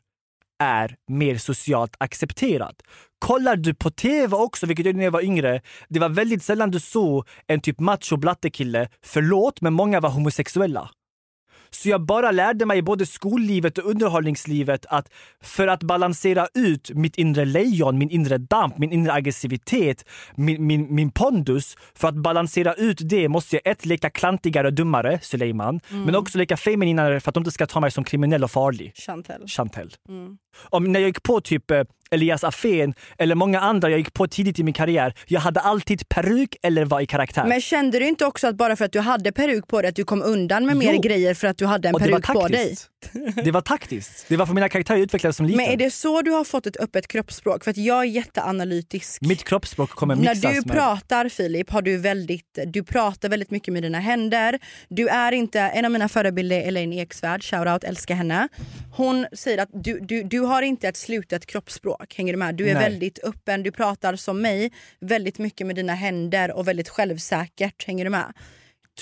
Speaker 5: är mer socialt accepterat. Kollar du på tv också, vilket jag gjorde när jag var yngre, det var väldigt sällan du såg en typ macho blattekille, förlåt men många var homosexuella. Så jag bara lärde mig i både skollivet och underhållningslivet att för att balansera ut mitt inre lejon, min inre damp, min inre aggressivitet, min, min, min pondus. För att balansera ut det måste jag ett, leka klantigare och dummare, Suleiman.
Speaker 4: Mm.
Speaker 5: Men också leka femininare för att de inte ska ta mig som kriminell och farlig,
Speaker 4: Chantel.
Speaker 5: Chantel. Om, när jag gick på typ eh, Elias Afén eller många andra jag gick på tidigt i min karriär. Jag hade alltid peruk eller var i karaktär.
Speaker 4: Men kände du inte också att bara för att du hade peruk på dig att du kom undan med mer
Speaker 5: Jo.
Speaker 4: grejer för att du hade en
Speaker 5: Och det var
Speaker 4: peruk på dig?
Speaker 5: taktiskt. Det var taktiskt. Det var för mina karaktärer utvecklades som liten.
Speaker 4: Men är det så du har fått ett öppet kroppsspråk? För att jag är jätteanalytisk.
Speaker 5: Mitt kroppsspråk kommer
Speaker 4: När
Speaker 5: mixas
Speaker 4: du
Speaker 5: med...
Speaker 4: pratar Filip, har du, väldigt, du pratar väldigt mycket med dina händer. Du är inte, en av mina förebilder är Elaine Eksvärd, shoutout, älskar henne. Hon säger att du, du, du har inte ett slutet kroppsspråk, hänger du med? Du är
Speaker 5: Nej.
Speaker 4: väldigt öppen, du pratar som mig väldigt mycket med dina händer och väldigt självsäkert, hänger du med?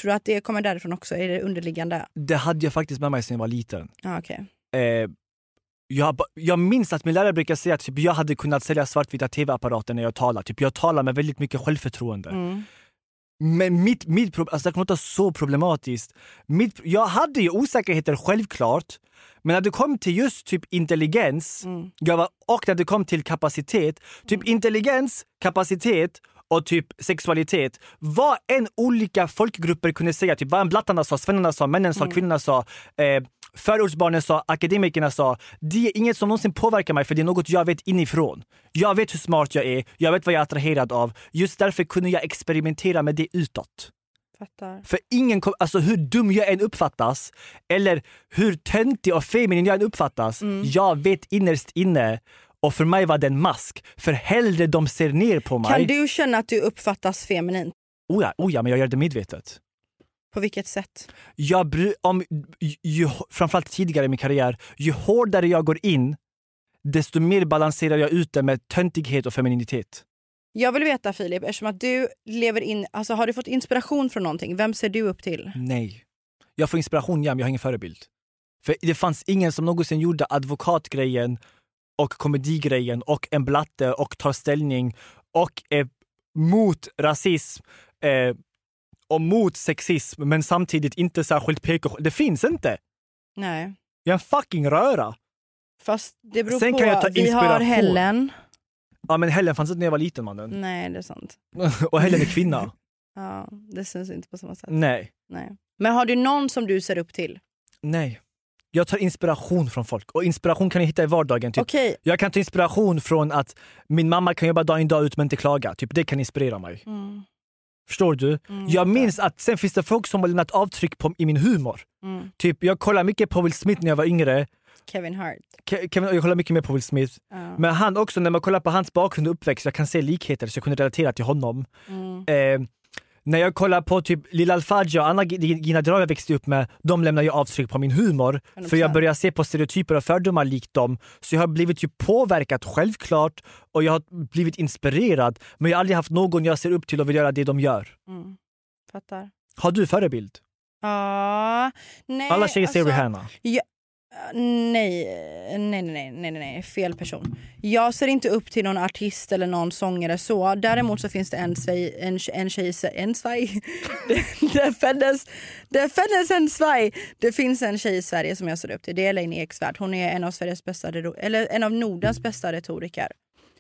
Speaker 4: Tror du att det kommer därifrån också? Är det underliggande?
Speaker 5: Det hade jag faktiskt med mig sedan jag var liten.
Speaker 4: Ja, okej.
Speaker 5: Eh, jag, ba- jag minns att min lärare brukar säga att typ, jag hade kunnat sälja svartvita tv-apparater när jag talar. Typ, jag talar med väldigt mycket självförtroende.
Speaker 4: Mm.
Speaker 5: Men mitt, mitt problem, alltså det kommer låta så problematiskt. Mitt, jag hade ju osäkerheter självklart. Men när det kom till just typ intelligens
Speaker 4: Mm.
Speaker 5: jag var, och när det kom till kapacitet. Typ intelligens, kapacitet och typ sexualitet. Vad än olika folkgrupper kunde säga. Typ vad än blattarna sa, svennarna sa, männen
Speaker 4: Mm.
Speaker 5: sa, kvinnorna sa. Eh, förortsbarnen sa, akademikerna sa. Det är inget som någonsin påverkar mig för det är något jag vet inifrån. Jag vet hur smart jag är, jag vet vad jag är attraherad av. Just därför kunde jag experimentera med det utåt.
Speaker 4: Fattar.
Speaker 5: För ingen kom, alltså hur dum jag än uppfattas eller hur töntig och feminin jag än uppfattas,
Speaker 4: Mm.
Speaker 5: jag vet innerst inne och för mig var det en mask. För hellre de ser ner på mig.
Speaker 4: Kan du känna att du uppfattas feminint?
Speaker 5: Oh ja, oh ja, men jag gör det medvetet.
Speaker 4: På vilket sätt?
Speaker 5: jag bry, om, ju, ju, framförallt tidigare i min karriär, ju hårdare jag går in desto mer balanserar jag ut det med töntighet och femininitet.
Speaker 4: Jag vill veta Filip, eftersom att du lever in, alltså har du fått inspiration från någonting? Vem ser du upp till?
Speaker 5: Nej. Jag får inspiration, ja, men jag har ingen förebild. För det fanns ingen som någonsin gjorde advokatgrejen och komedigrejen och en blatte och tar ställning och är mot rasism eh, och mot sexism men samtidigt inte särskilt PK. Det finns inte.
Speaker 4: Nej.
Speaker 5: Jag är en fucking röra.
Speaker 4: Fast det beror
Speaker 5: Sen
Speaker 4: på.
Speaker 5: kan jag ta
Speaker 4: Vi har
Speaker 5: inspiration.
Speaker 4: Helen.
Speaker 5: Ja, men Helen fanns inte när jag var liten mannen.
Speaker 4: Nej, det är sant.
Speaker 5: Och Helen är kvinna.
Speaker 4: Ja, det syns inte på samma sätt.
Speaker 5: Nej.
Speaker 4: *laughs* Nej. Men har du någon som du ser upp till?
Speaker 5: Nej. Jag tar inspiration från folk och inspiration kan jag hitta i vardagen. Typ.
Speaker 4: Okej,
Speaker 5: Jag kan ta inspiration från att min mamma kan jobba dag in dag ut men inte klaga. Typ, det kan inspirera mig.
Speaker 4: Mm.
Speaker 5: Förstår du? jag minns att sen finns det folk som har lämnat avtryck på, i min humor.
Speaker 4: Mm.
Speaker 5: Typ, jag kollade mycket på Will Smith när jag var yngre.
Speaker 4: Kevin Hart.
Speaker 5: Ke- Kevin, jag kollar mycket mer på Will Smith.
Speaker 4: Ja.
Speaker 5: Men han också, när man kollar på hans bakgrund och uppväxt, jag kan se likheter så jag kunde relatera till honom.
Speaker 4: Mm.
Speaker 5: Eh, när jag kollar på typ Lilla Alfaja och Anna-Gina Drawe jag växte upp med, de lämnar ju avtryck på min humor. För jag börjar se på stereotyper och fördomar likt dem. Så jag har blivit ju påverkad självklart och jag har blivit inspirerad. Men jag har aldrig haft någon jag ser upp till och vill göra det de gör.
Speaker 4: Fattar.
Speaker 5: Har du förebild?
Speaker 4: Ja, nej.
Speaker 5: Alla tjejer ser
Speaker 4: alltså-
Speaker 5: Rihanna.
Speaker 4: Nej, nej, nej, nej, nej, nej, fel person. Jag ser inte upp till någon artist eller någon sångare så. Däremot så finns det en svaj, en, en tjej, en svaj. *laughs* Det- det föddes, det föddes en svaj. Det finns en tjej i Sverige som jag ser upp till. Det är Elaine Eksvärd. Hon är en av Sveriges bästa, retor- eller en av Nordens bästa retoriker.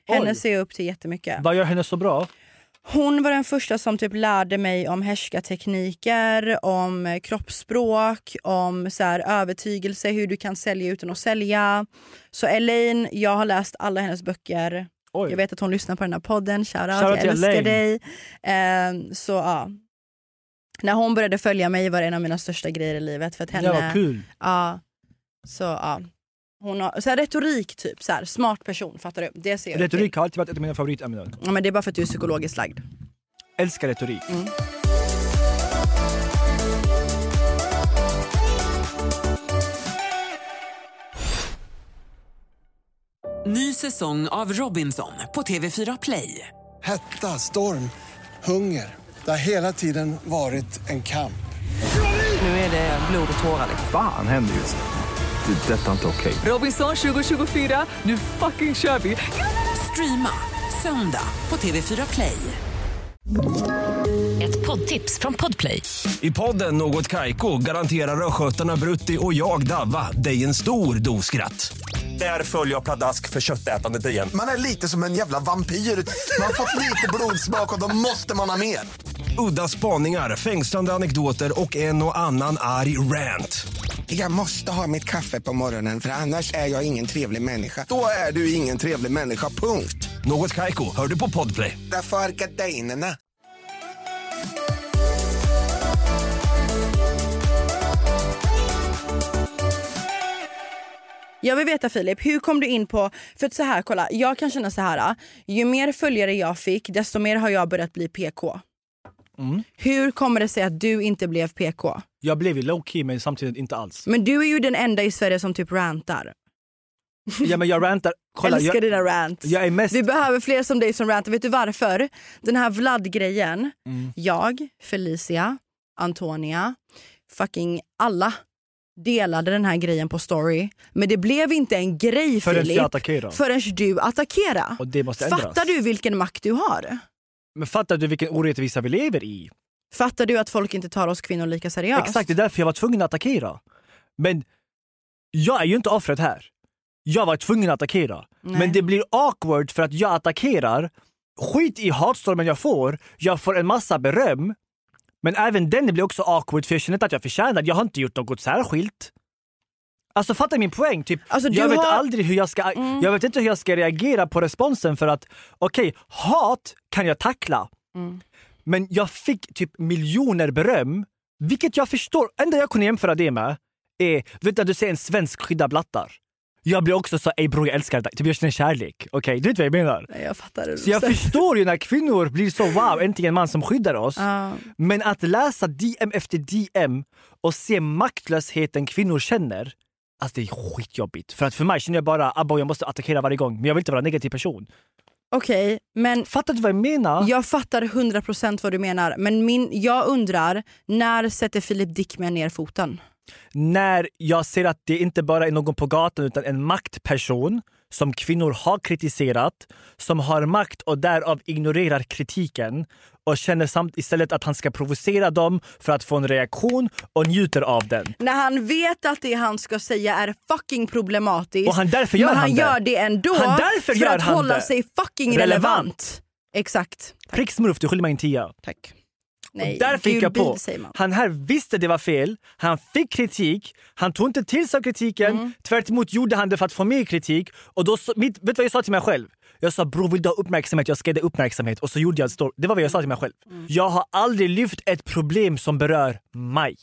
Speaker 4: Henne
Speaker 5: Oj.
Speaker 4: ser jag upp till jättemycket.
Speaker 5: Vad gör henne så bra?
Speaker 4: Hon var den första som typ lärde mig om härskartekniker, om eh, kroppsspråk, om så här övertygelse, hur du kan sälja utan att sälja. Så Elaine, jag har läst alla hennes böcker.
Speaker 5: Oj.
Speaker 4: Jag vet att hon lyssnar på den här podden. Shoutout,
Speaker 5: Shoutout
Speaker 4: jag
Speaker 5: till
Speaker 4: älskar
Speaker 5: Elaine.
Speaker 4: dig. Eh, så ja. När hon började följa mig var det en av mina största grejer i livet. För att henne,
Speaker 5: Ja, vad kul.
Speaker 4: Ja. Så ja. Hon har, så här, retorik typ, så här, smart person, fattar du? Det ser jag upp till.
Speaker 5: Retorik har alltid varit ett av mina favoritämnen.
Speaker 4: Ja, men det är bara för att du är psykologiskt lagd.
Speaker 5: Älskar retorik.
Speaker 1: Ny säsong av Robinson på TV4 Play.
Speaker 2: Hetta, storm, hunger. Det har hela tiden varit en kamp.
Speaker 1: Nu är det blod och tårar.
Speaker 3: Fan händer just nu. Det. är Detta är inte okej.
Speaker 1: Robinson 2024, nu fucking kör vi! Streama söndag på TV4 Play.
Speaker 6: Ett poddtips från Podplay.
Speaker 7: I podden Något Kaiko garanterar östgötarna Brutti och jag, Davva, dig en stor dos skratt. Där följer jag pladask för köttätandet igen.
Speaker 8: Man är lite som en jävla vampyr. Man har fått lite blodsmak och då måste man ha mer.
Speaker 7: Udda spaningar, fängslande anekdoter och en och annan arg rant.
Speaker 9: Jag måste ha mitt kaffe på morgonen för annars är jag ingen trevlig människa. Då är du ingen trevlig människa, punkt.
Speaker 7: Något Kaiko, hör du på podplay.
Speaker 9: Därför är gardinerna.
Speaker 4: Jag vill veta Filip, hur kom du in på... För att så här, kolla, jag kan känna så här. ah, Ju mer följare jag fick, desto mer har jag börjat bli PK.
Speaker 5: Mm.
Speaker 4: Hur kommer det sig att du inte blev PK?
Speaker 5: Jag blev ju low key men samtidigt inte alls.
Speaker 4: Men du är ju den enda i Sverige som typ rantar.
Speaker 5: Ja, men jag rantar. Kolla,
Speaker 4: Älskar
Speaker 5: jag,
Speaker 4: dina rants.
Speaker 5: jag är mest...
Speaker 4: Vi behöver fler som dig som rantar. Vet du varför? Den här Vlad-grejen.
Speaker 5: Mm.
Speaker 4: Jag, Felicia, Antonia, fucking alla delade den här grejen på story. Men det blev inte en grej
Speaker 5: Förrän jag
Speaker 4: Filip,
Speaker 5: attackerade.
Speaker 4: förrän du attackerade.
Speaker 5: Och det måste ändras.
Speaker 4: Fattar du vilken makt du har?
Speaker 5: Men fattar du vilken orättvisa vi lever i?
Speaker 4: Fattar du att folk inte tar oss kvinnor lika seriöst?
Speaker 5: Exakt, det är därför jag var tvungen att attackera. Men jag är ju inte offret här. Jag var tvungen att attackera.
Speaker 4: Nej.
Speaker 5: Men det blir awkward för att jag attackerar. Skit i hatstormen jag får. Jag får en massa beröm. Men även den blir också awkward för jag känner inte att jag förtjänar det. Jag har inte gjort något särskilt. Alltså fattar min poäng? Typ,
Speaker 4: Alltså, du
Speaker 5: jag vet
Speaker 4: har- Mm.
Speaker 5: aldrig hur jag ska... Jag vet inte hur jag ska reagera på responsen för att okej, hat kan jag tackla.
Speaker 4: Mm.
Speaker 5: Men jag fick typ miljoner beröm, vilket jag förstår. Enda jag kunde jämföra det med är, du vet när du ser en svensk skydda blattar. Jag blir också så, ey bror jag älskar dig, typ jag känner kärlek. Okej, du vet vad jag menar?
Speaker 4: Nej, Jag fattar det.
Speaker 5: Så jag förstår ju när kvinnor blir så wow, äntligen en man som skyddar oss.
Speaker 4: Ja.
Speaker 5: Men att läsa DM efter DM och se maktlösheten kvinnor känner, alltså det är skitjobbigt. För att för mig känner jag bara, abba jag måste attackera varje gång, men jag vill inte vara en negativ person.
Speaker 4: Okej, men
Speaker 5: Fattar du vad jag menar?
Speaker 4: Jag fattar 100% vad du menar, men min, jag undrar, när sätter Filip Dickman ner foten?
Speaker 5: när jag ser att det inte bara är någon på gatan utan en maktperson som kvinnor har kritiserat, som har makt och därav ignorerar kritiken och känner samt istället att han ska provocera dem för att få en reaktion och njuter av den.
Speaker 4: När han vet att det han ska säga är fucking problematiskt,
Speaker 5: Och han därför gör
Speaker 4: men han
Speaker 5: han det.
Speaker 4: gör det ändå
Speaker 5: Han därför
Speaker 4: för
Speaker 5: gör
Speaker 4: att
Speaker 5: han
Speaker 4: hålla
Speaker 5: det.
Speaker 4: sig fucking relevant.
Speaker 5: Relevant.
Speaker 4: Exakt.
Speaker 5: Prick smurf, du skiljer mig en tia.
Speaker 4: Tack.
Speaker 5: och därför
Speaker 4: gul
Speaker 5: gick jag på.
Speaker 4: bil, säger man.
Speaker 5: Han här visste det var fel, han fick kritik, han tog inte till sig av kritiken.
Speaker 4: Mm.
Speaker 5: Tvärt emot gjorde han det för att få mer kritik. Och då, så- mitt, vet du vad jag sa till mig själv? Jag sa bror vill du ha uppmärksamhet? Jag ska ge dig uppmärksamhet. Och så gjorde jag en story. Det var vad jag sa till mig själv.
Speaker 4: Mm.
Speaker 5: Jag har aldrig lyft ett problem som berör mig.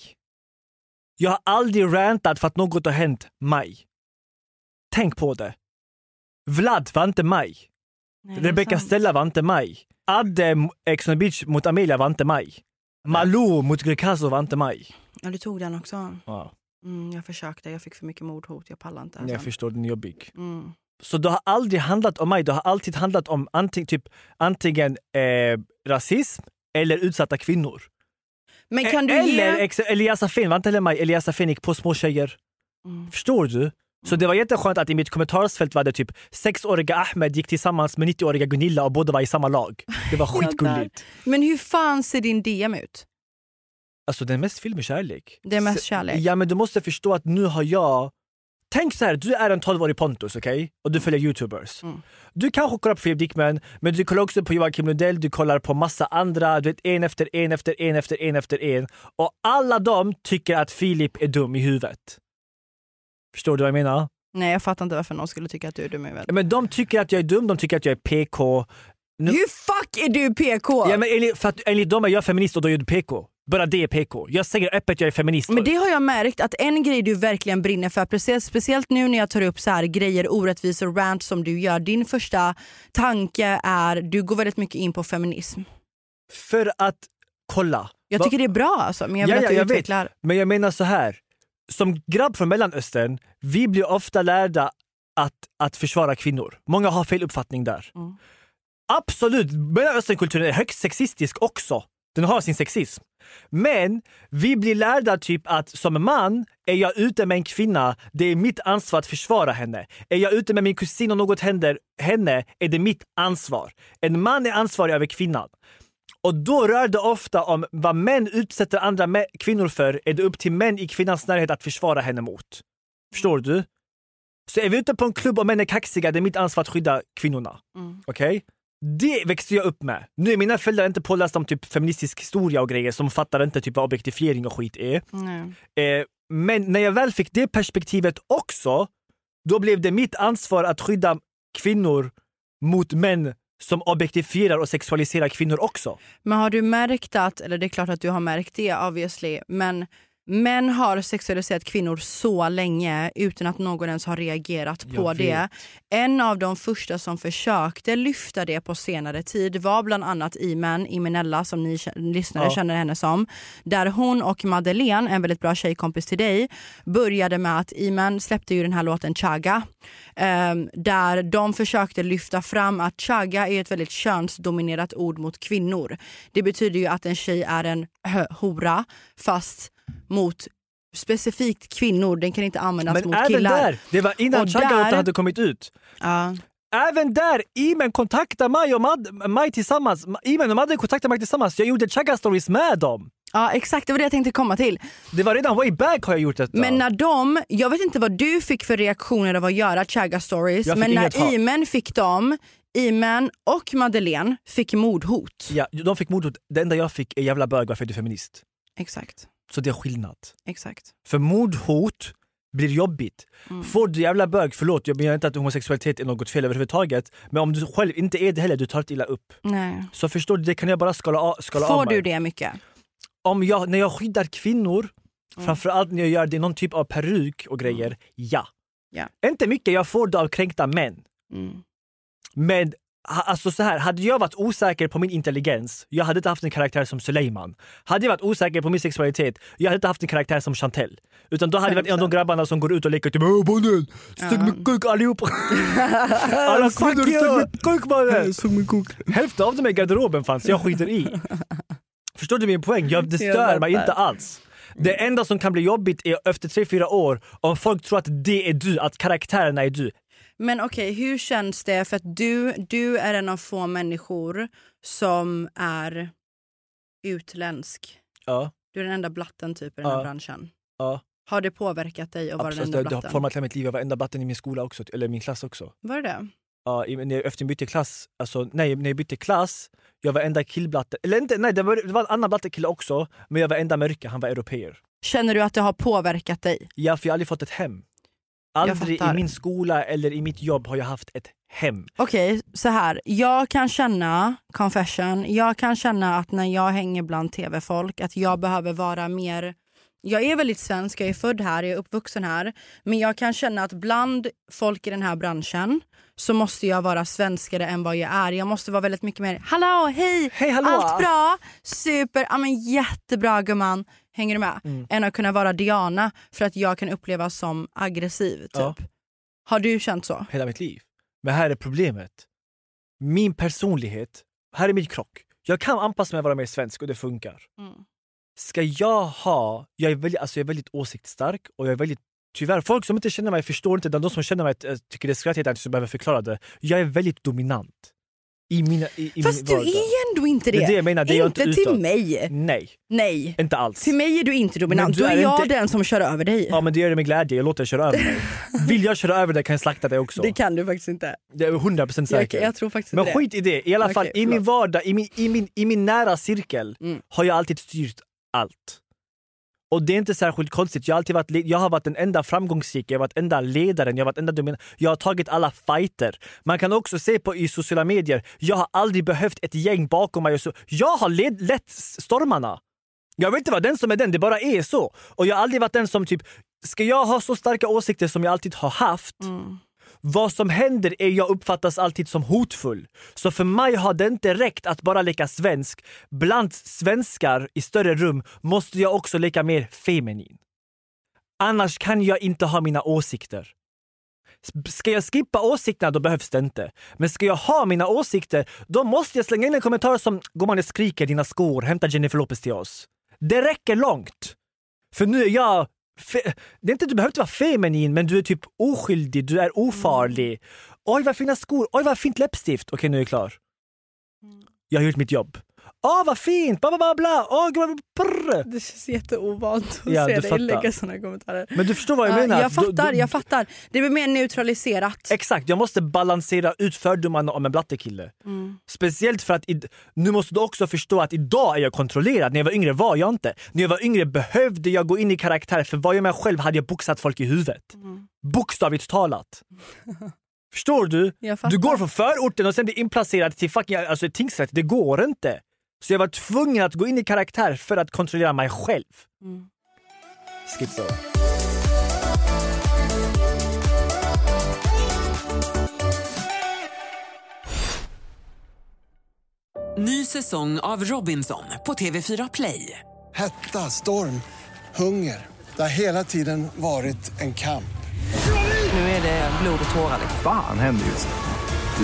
Speaker 5: Jag har aldrig rantat för att något har hänt mig. Tänk på det. Vlad var inte mig.
Speaker 4: Nej, det är
Speaker 5: Rebecca
Speaker 4: sant.
Speaker 5: Stella var inte mig. Adde m- Ex on the beach mot Amelia var inte mig. Malou mot Greekazo var inte mig.
Speaker 4: Ja, du tog den också.
Speaker 5: Ja,
Speaker 4: Mm, jag försökte, jag fick för mycket mordhot, jag pallar inte.
Speaker 5: jag
Speaker 4: sen.
Speaker 5: förstår, den är jobbig.
Speaker 4: Mm.
Speaker 5: Så det har aldrig handlat om mig, det har alltid handlat om anting, typ, antingen eh, rasism eller utsatta kvinnor. Eh,
Speaker 4: Men kan du
Speaker 5: eller
Speaker 4: ge...
Speaker 5: ex- Elias Afin var inte heller mig, Elias Afin gick på små tjejer.
Speaker 4: Mm.
Speaker 5: Förstår du? Så det var jätteskönt att i mitt kommentarsfält var det typ sexåriga Ahmed gick tillsammans med 90-åriga Gunilla och båda var i samma lag. Det
Speaker 4: *laughs*
Speaker 5: var skitgulligt.
Speaker 4: Men hur fan ser din DM ut?
Speaker 5: Alltså den är mest film är kärlek.
Speaker 4: Det är mest
Speaker 5: Så-
Speaker 4: kärlek.
Speaker 5: Ja men du måste förstå att nu har jag... Tänk så här, du är en 12-årig Pontus, okej? Och
Speaker 4: Mm.
Speaker 5: du följer youtubers. Du kanske kollar på Filip Dickman, men du kollar också på Joakim Lundell, du kollar på massa andra, du vet en efter en efter en efter en efter en. Och alla de tycker att Filip är dum i huvudet. Förstår du vad jag menar?
Speaker 4: Nej jag fattar inte varför någon skulle tycka att du är dum i huvudet.
Speaker 5: Men de tycker att jag är dum, de tycker att jag är PK. Nu-
Speaker 4: Hur fuck är du PK?
Speaker 5: Ja, men enligt, för att, enligt dem är jag feminist och då är du PK. Bara det är PK. Jag säger öppet att jag är feminist.
Speaker 4: Men det har jag märkt att en grej du verkligen brinner för, precis, speciellt nu när jag tar upp så här grejer, orättvisor, rant som du gör. Din första tanke är, du går väldigt mycket in på feminism.
Speaker 5: För att, kolla.
Speaker 4: Jag
Speaker 5: Va-
Speaker 4: tycker det är bra alltså, men jag vill
Speaker 5: Ja,
Speaker 4: att
Speaker 5: ja,
Speaker 4: du
Speaker 5: jag vet.
Speaker 4: utvecklar.
Speaker 5: Men jag menar så här. Som grabb från Mellanöstern, vi blir ofta lärda att, att försvara kvinnor. Många har fel uppfattning där.
Speaker 4: Mm.
Speaker 5: Absolut, Mellanösternkulturen är högst sexistisk också. Den har sin sexism. Men vi blir lärda typ att som man är jag ute med en kvinna, det är mitt ansvar att försvara henne. Är jag ute med min kusin och något händer henne, är det mitt ansvar. En man är ansvarig över kvinnan. Och då rör det ofta om vad män utsätter andra mä- kvinnor för är det upp till män i kvinnans närhet att försvara henne mot. Förstår du? Så är vi ute på en klubb och män är kaxiga, det är mitt ansvar att skydda kvinnorna. Okej? Det växte jag upp med. Nu är mina föräldrar inte pålästa om typ feministisk historia och grejer, som fattar inte typ vad objektifiering och skit är.
Speaker 4: Nej.
Speaker 5: Eh, Men när jag väl fick det perspektivet också, då blev det mitt ansvar att skydda kvinnor mot män som objektifierar och sexualiserar kvinnor också.
Speaker 4: Men har du märkt att, eller det är klart att du har märkt det obviously, men män har sexualiserat kvinnor så länge utan att någon ens har reagerat på
Speaker 5: Jag vet.
Speaker 4: det. En av de första som försökte lyfta det på senare tid var bland annat Iman Imenella som ni kä- lyssnare
Speaker 5: Ja.
Speaker 4: känner henne som. Där hon och Madeleine, en väldigt bra tjejkompis till dig, började med att Iman släppte ju den här låten Chaga. ehm, där de försökte lyfta fram att chaga är ett väldigt könsdominerat ord mot kvinnor. Det betyder ju att en tjej är en hö- hora fast mot specifikt kvinnor. Den kan inte användas
Speaker 5: Men
Speaker 4: mot
Speaker 5: även
Speaker 4: killar.
Speaker 5: där, det var innan
Speaker 4: Och
Speaker 5: Chagga
Speaker 4: där-
Speaker 5: hade kommit ut.
Speaker 4: Ja.
Speaker 5: Även där, Imen kontaktade mig och Mad, mig tillsammans. Imen och Madde kontaktade mig tillsammans. Jag gjorde Chagga stories med dem.
Speaker 4: ja exakt, det var det jag tänkte komma till.
Speaker 5: Det var redan way back har jag gjort detta.
Speaker 4: Men när de, jag vet inte vad du fick för reaktioner av att göra Chaga stories,
Speaker 5: Jag fick
Speaker 4: men
Speaker 5: inget hat.
Speaker 4: när Imen fick dem, Imen och Madeleine fick mordhot.
Speaker 5: ja, de fick mordhot. Det enda jag fick är jävla bög, varför är du feminist?
Speaker 4: Exakt,
Speaker 5: Så det är skillnad.
Speaker 4: exakt.
Speaker 5: För mordhot blir jobbigt.
Speaker 4: Mm.
Speaker 5: Får du jävla bög, förlåt jag menar inte att homosexualitet är något fel överhuvudtaget. Men om du själv inte är det heller, du tar inte illa upp.
Speaker 4: Nej.
Speaker 5: Så förstår du, det kan jag bara skala, av- skala av
Speaker 4: Får
Speaker 5: mig.
Speaker 4: du det mycket?
Speaker 5: Om jag, när jag skyddar kvinnor, framförallt när jag gör det i någon typ av peruk och grejer, ja.
Speaker 4: Ja.
Speaker 5: Inte mycket jag får det av kränkta män.
Speaker 4: Mm.
Speaker 5: Men ha- alltså så här, hade jag varit osäker på min intelligens, jag hade inte haft en karaktär som Suleiman. Hade jag varit osäker på min sexualitet, jag hade inte haft en karaktär som Chantel. Utan då hade jag varit en av de grabbarna som går ut och leker typ “Åh mannen, sug min kuk allihop!” Alla kvinnor sug min kuk mannen! Hälften av dem i garderoben fanns, jag skiter i. Förstår du min poäng? Jag, det
Speaker 4: Jag
Speaker 5: stör mig
Speaker 4: fattar.
Speaker 5: inte alls. Det enda som kan bli jobbigt är efter tre fyra år om folk tror att det är du, att karaktärerna är du.
Speaker 4: Men okej, hur känns det? För att du, du är en av få människor som är utländsk.
Speaker 5: Ja,
Speaker 4: Du är den enda blatten typ i den här
Speaker 5: Ja.
Speaker 4: branschen.
Speaker 5: ja.
Speaker 4: Har det påverkat dig att vara den
Speaker 5: Absolut,
Speaker 4: enda
Speaker 5: det, det har
Speaker 4: blatten?
Speaker 5: format hela mitt liv. Jag var enda blatten i min skola också, eller min klass också.
Speaker 4: Var det det?
Speaker 5: Ja, i- när jag, efter jag bytte klass, alltså nej, när jag bytte klass, jag var enda killblatten. Eller inte, nej det var, det var en annan blattekille också, men jag var enda mörka, han var europeer.
Speaker 4: Känner du att det har påverkat dig?
Speaker 5: Ja, för jag har aldrig fått ett hem. Aldrig i
Speaker 4: fattar.
Speaker 5: min skola eller i mitt jobb har jag haft ett hem.
Speaker 4: Okej, så här. Jag kan känna, confession, jag kan känna att när jag hänger bland tv-folk att jag behöver vara mer... Jag är väldigt svensk, jag är född här, jag är uppvuxen här. Men jag kan känna att bland folk i den här branschen så måste jag vara svenskare än vad jag är. Jag måste vara väldigt mycket mer hallå, hej,
Speaker 5: Hej, hallå."
Speaker 4: allt bra, super, ja, men jättebra gumman. Hänger du med?
Speaker 5: Mm.
Speaker 4: Än att kunna vara Diana för att jag kan upplevas som aggressiv. Typ.
Speaker 5: Ja.
Speaker 4: Har du känt så?
Speaker 5: hela mitt liv. Men här är problemet. Min personlighet, här är min krock. Jag kan anpassa mig och vara mer svensk och det funkar.
Speaker 4: Mm.
Speaker 5: Ska jag ha... Jag är, väldigt, alltså jag är väldigt åsiktsstark och jag är väldigt... Tyvärr, folk som inte känner mig förstår inte. utan De som känner mig eh, tycker det är skrattigt att jag behöver förklara det. Jag är väldigt dominant. I mina, i, i
Speaker 4: Fast
Speaker 5: min
Speaker 4: du
Speaker 5: vardag.
Speaker 4: är ändå inte det.
Speaker 5: Det är det jag menar, det är jag
Speaker 4: inte
Speaker 5: inte
Speaker 4: till
Speaker 5: utåt.
Speaker 4: mig.
Speaker 5: Nej,
Speaker 4: Nej.
Speaker 5: inte alls.
Speaker 4: Till mig är du inte
Speaker 5: Men
Speaker 4: dominant.
Speaker 5: du
Speaker 4: Då är,
Speaker 5: är
Speaker 4: jag
Speaker 5: inte-
Speaker 4: den som kör över dig.
Speaker 5: Ja men det gör det med glädje, jag låter dig köra över
Speaker 4: *laughs*
Speaker 5: mig. Vill jag köra över dig kan jag slakta dig också.
Speaker 4: Det kan du faktiskt inte.
Speaker 5: Det är 100%
Speaker 4: Jag,
Speaker 5: säker.
Speaker 4: jag tror faktiskt
Speaker 5: Men
Speaker 4: inte
Speaker 5: skit i det. I alla
Speaker 4: Okej,
Speaker 5: fall i min
Speaker 4: förlåt.
Speaker 5: vardag, i min, i min, i min nära cirkel
Speaker 4: Mm.
Speaker 5: har jag alltid styrt allt. Och det är inte särskilt konstigt. Jag har, alltid varit, le- jag har varit den enda framgångsrika, jag har varit enda ledaren, jag har varit enda dominant. Jag har tagit alla fighter. Man kan också se på i sociala medier, jag har aldrig behövt ett gäng bakom mig. Och så. Jag har led, lett s- stormarna. Jag vill inte vara den som är den, det bara är så. Och jag har aldrig varit den som typ, ska jag ha så starka åsikter som jag alltid har haft
Speaker 4: det. Mm.
Speaker 5: vad som händer är jag uppfattas alltid som hotfull. Så för mig har det inte räckt att bara leka svensk. Bland svenskar i större rum måste jag också leka mer feminin. Annars kan jag inte ha mina åsikter. S- Ska jag skippa åsikterna då behövs det inte. Men ska jag ha mina åsikter då måste jag slänga in en kommentar som “Gumman jag skriker dina skor, hämta Jennifer Lopez till oss”. Det räcker långt. För nu är jag... Fe- det är inte, du behöver inte vara feminin, men du är typ oskyldig, du är
Speaker 4: Mm.
Speaker 5: ofarlig.
Speaker 4: Mm.
Speaker 5: Oj, vad fina skor! Oj, vad fint läppstift! Okej, nu är jag klar. Jag har gjort mitt jobb. Åh, vad fint! Bla, bla, bla, bla. Åh, gud, vad- brr.
Speaker 4: Det känns jätteovant att
Speaker 5: Ja,
Speaker 4: se
Speaker 5: du
Speaker 4: dig
Speaker 5: fattar.
Speaker 4: lägga sådana kommentarer.
Speaker 5: Men du förstår vad jag
Speaker 4: Ja,
Speaker 5: menar?
Speaker 4: jag
Speaker 5: Du- du-
Speaker 4: fattar, jag fattar. Det blir mer neutraliserat.
Speaker 5: Exakt, jag måste balansera ut fördomarna om en blattekille.
Speaker 4: Mm.
Speaker 5: Speciellt för att id- nu måste du också förstå att idag är jag kontrollerad. När jag var yngre var jag inte. När jag var yngre behövde jag gå in i karaktär för var jag mig själv hade jag boxat folk i huvudet.
Speaker 4: Mm.
Speaker 5: Bokstavligt
Speaker 4: *laughs*
Speaker 5: talat. Förstår du?
Speaker 4: Jag fattar.
Speaker 5: Du går från förorten och sen blir inplacerad till fucking alltså, i tingsrätt. Det går inte. Så jag var tvungen att gå in i karaktär för att kontrollera mig själv.
Speaker 4: Mm.
Speaker 5: Skip though.
Speaker 1: Ny säsong av Robinson på TV4 Play.
Speaker 2: Hetta, storm, hunger. Det har hela tiden varit en kamp.
Speaker 1: Nu är det blod och tårar.
Speaker 3: Fan händer just det.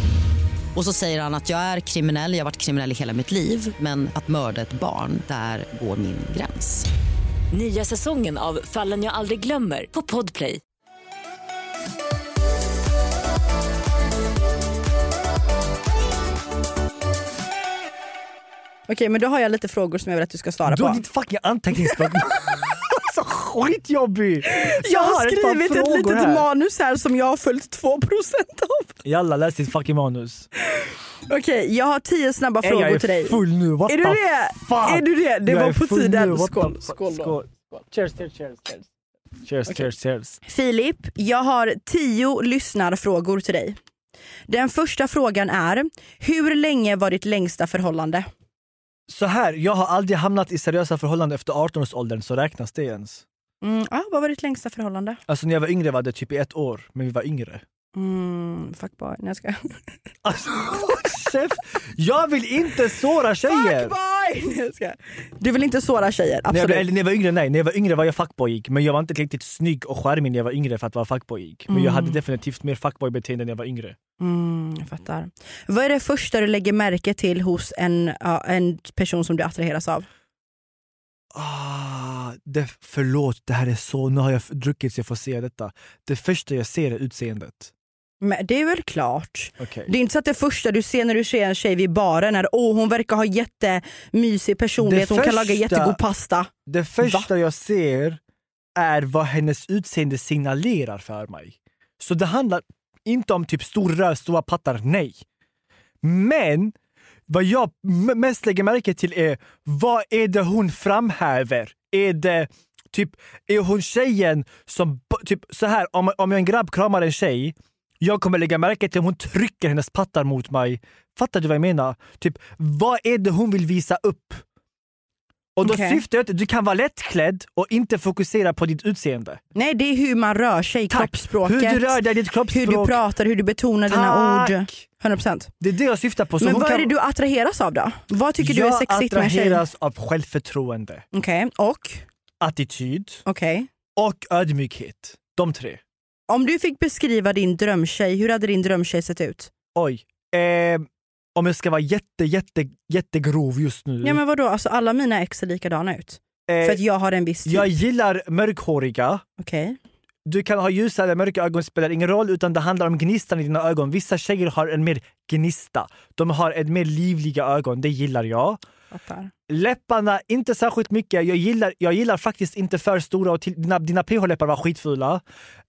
Speaker 10: Och så säger han att jag är kriminell, jag har varit kriminell i hela mitt liv men att mörda ett barn, där går min gräns.
Speaker 6: Nya säsongen av Fallen jag aldrig glömmer på Podplay.
Speaker 4: Okej, men då har jag lite frågor som jag vill att du ska svara
Speaker 5: Du har
Speaker 4: på.
Speaker 5: ditt fucking anteckningsblock. *laughs* så skitjobbig!
Speaker 4: Jag har
Speaker 5: ett par
Speaker 4: skrivit ett,
Speaker 5: frågor
Speaker 4: litet
Speaker 5: här.
Speaker 4: manus här som jag har följt 2% av.
Speaker 5: Jalla, läs ditt fucking manus.
Speaker 4: Okej, jag har tio snabba
Speaker 5: Ey, jag
Speaker 4: frågor
Speaker 5: är
Speaker 4: till dig.
Speaker 5: full nu. What
Speaker 4: Är du
Speaker 5: the
Speaker 4: det?
Speaker 5: Fuck?
Speaker 4: Är du det? Det
Speaker 5: jag
Speaker 4: var
Speaker 5: är
Speaker 4: på
Speaker 5: full
Speaker 4: tiden.
Speaker 5: nu. What the
Speaker 4: Skål,
Speaker 5: fuck?
Speaker 4: skål då.
Speaker 5: Cheers, cheers, cheers. cheers. Cheers, cheers, cheers.
Speaker 4: Filip, jag har tio lyssnarfrågor till dig. Den första frågan är, hur länge var ditt längsta förhållande?
Speaker 5: Så här, jag har aldrig hamnat i seriösa förhållanden efter 18-årsåldern, så räknas det ens?
Speaker 4: Mm, ah, vad var ditt längsta förhållande?
Speaker 5: Alltså när jag var yngre var det typ i ett år, men vi var yngre.
Speaker 4: Mm, fuckboy. Nej, jag skojar.
Speaker 5: Alltså, *laughs* chef, jag vill inte såra tjejer!
Speaker 4: Fuckboy! Nej, jag skojar. Du vill inte såra tjejer,
Speaker 5: När jag,
Speaker 4: absolut.
Speaker 5: blev- eller när jag var yngre, nej. När jag var yngre var jag fuckboyig. Men jag var inte riktigt snygg och charmig när jag var yngre för att vara fuckboyig. Men jag hade definitivt mer fuckboy-beteende när jag var yngre.
Speaker 4: Mm, jag fattar. Vad är det första du lägger märke till hos en, ja, en person som du attraheras av?
Speaker 5: Ah, det, förlåt, det här är så... Nu har jag f- druckit så jag får se detta. Det första jag ser är utseendet.
Speaker 4: Men det är väl klart.
Speaker 5: Okej.
Speaker 4: Det är inte så att det första du ser när du ser en tjej vid baren är åh hon verkar ha jättemysig personlighet,
Speaker 5: Det
Speaker 4: hon kan laga
Speaker 5: första-
Speaker 4: jättegod pasta.
Speaker 5: Det första jag ser är vad hennes utseende signalerar för mig. Så det handlar inte om typ stor röst, stora pattar, nej. Men vad jag m- mest lägger märke till är vad är det hon framhäver? Är det typ, är hon tjejen som, b- typ så här om, om jag en grabb kramar en tjej, jag kommer lägga märke till om hon trycker hennes pattar mot mig. Fattar du vad jag menar? Typ, vad är det hon vill visa upp? Och då
Speaker 4: Okej.
Speaker 5: syftar jag till, du kan vara lättklädd och inte fokusera på ditt utseende.
Speaker 4: Nej det är hur man rör sig,
Speaker 5: Tack.
Speaker 4: kroppsspråket,
Speaker 5: Hur du rör dig, ditt
Speaker 4: hur
Speaker 5: kroppsspråk.
Speaker 4: du pratar, hur du betonar dina ord.
Speaker 5: Tack.
Speaker 4: 100%.
Speaker 5: Det är det jag syftar på. Så
Speaker 4: Men
Speaker 5: hon
Speaker 4: vad
Speaker 5: kan...
Speaker 4: är det du attraheras av då? Vad tycker du är sexigt med en tjej?
Speaker 5: Jag attraheras av självförtroende,
Speaker 4: Okej, och?
Speaker 5: attityd
Speaker 4: Okej.
Speaker 5: och ödmjukhet. De tre.
Speaker 4: Om du fick beskriva din drömtjej, hur hade din drömtjej sett ut?
Speaker 5: Oj. Ehm, om jag ska vara jätte, jätte, jättegrov just nu.
Speaker 4: Ja men vadå, alltså alla mina ex ser likadana ut.
Speaker 5: eh,
Speaker 4: För att jag har en viss typ.
Speaker 5: Jag gillar mörkhåriga.
Speaker 4: Okej.
Speaker 5: Du kan ha ljusa eller mörka ögon, spelar ingen roll, utan det handlar om gnistan i dina ögon. Vissa tjejer har en mer gnista. De har ett mer livliga ögon, det gillar jag.
Speaker 4: Fattar.
Speaker 5: Läpparna, inte särskilt mycket. Jag gillar, jag gillar faktiskt inte för stora och till, dina, dina pH-läppar var skitfula.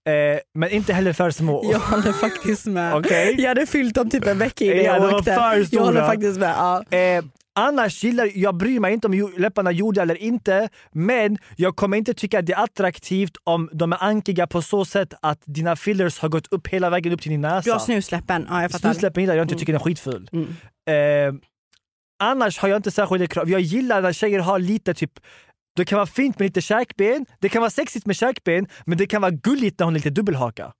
Speaker 5: Eh, men inte heller för
Speaker 4: *laughs*
Speaker 5: små.
Speaker 4: Jag håller faktiskt med.
Speaker 5: Okej.
Speaker 4: Jag hade fyllt dem typ en vecka innan
Speaker 5: Ja, de
Speaker 4: jag
Speaker 5: var
Speaker 4: åkte.
Speaker 5: för
Speaker 4: Jag
Speaker 5: stora.
Speaker 4: håller faktiskt med. Ja.
Speaker 5: Eh, annars gillar jag, bryr mig inte om ju- läpparna är gjorda eller inte, men jag kommer inte tycka att det är attraktivt om de är ankiga på så sätt att dina fillers har gått upp hela vägen upp till din
Speaker 4: Du har
Speaker 5: näsa.
Speaker 4: snusläppen. Ja, jag fattar. Mm.
Speaker 5: Snusläppen gillar jag inte, jag tycker den är skitful. Eh, annars har jag inte särskilda krav. Jag gillar när tjejer har lite typ det kan vara fint med lite käkben, det kan vara sexigt med käkben, men det kan vara gulligt när hon är lite dubbelhaka.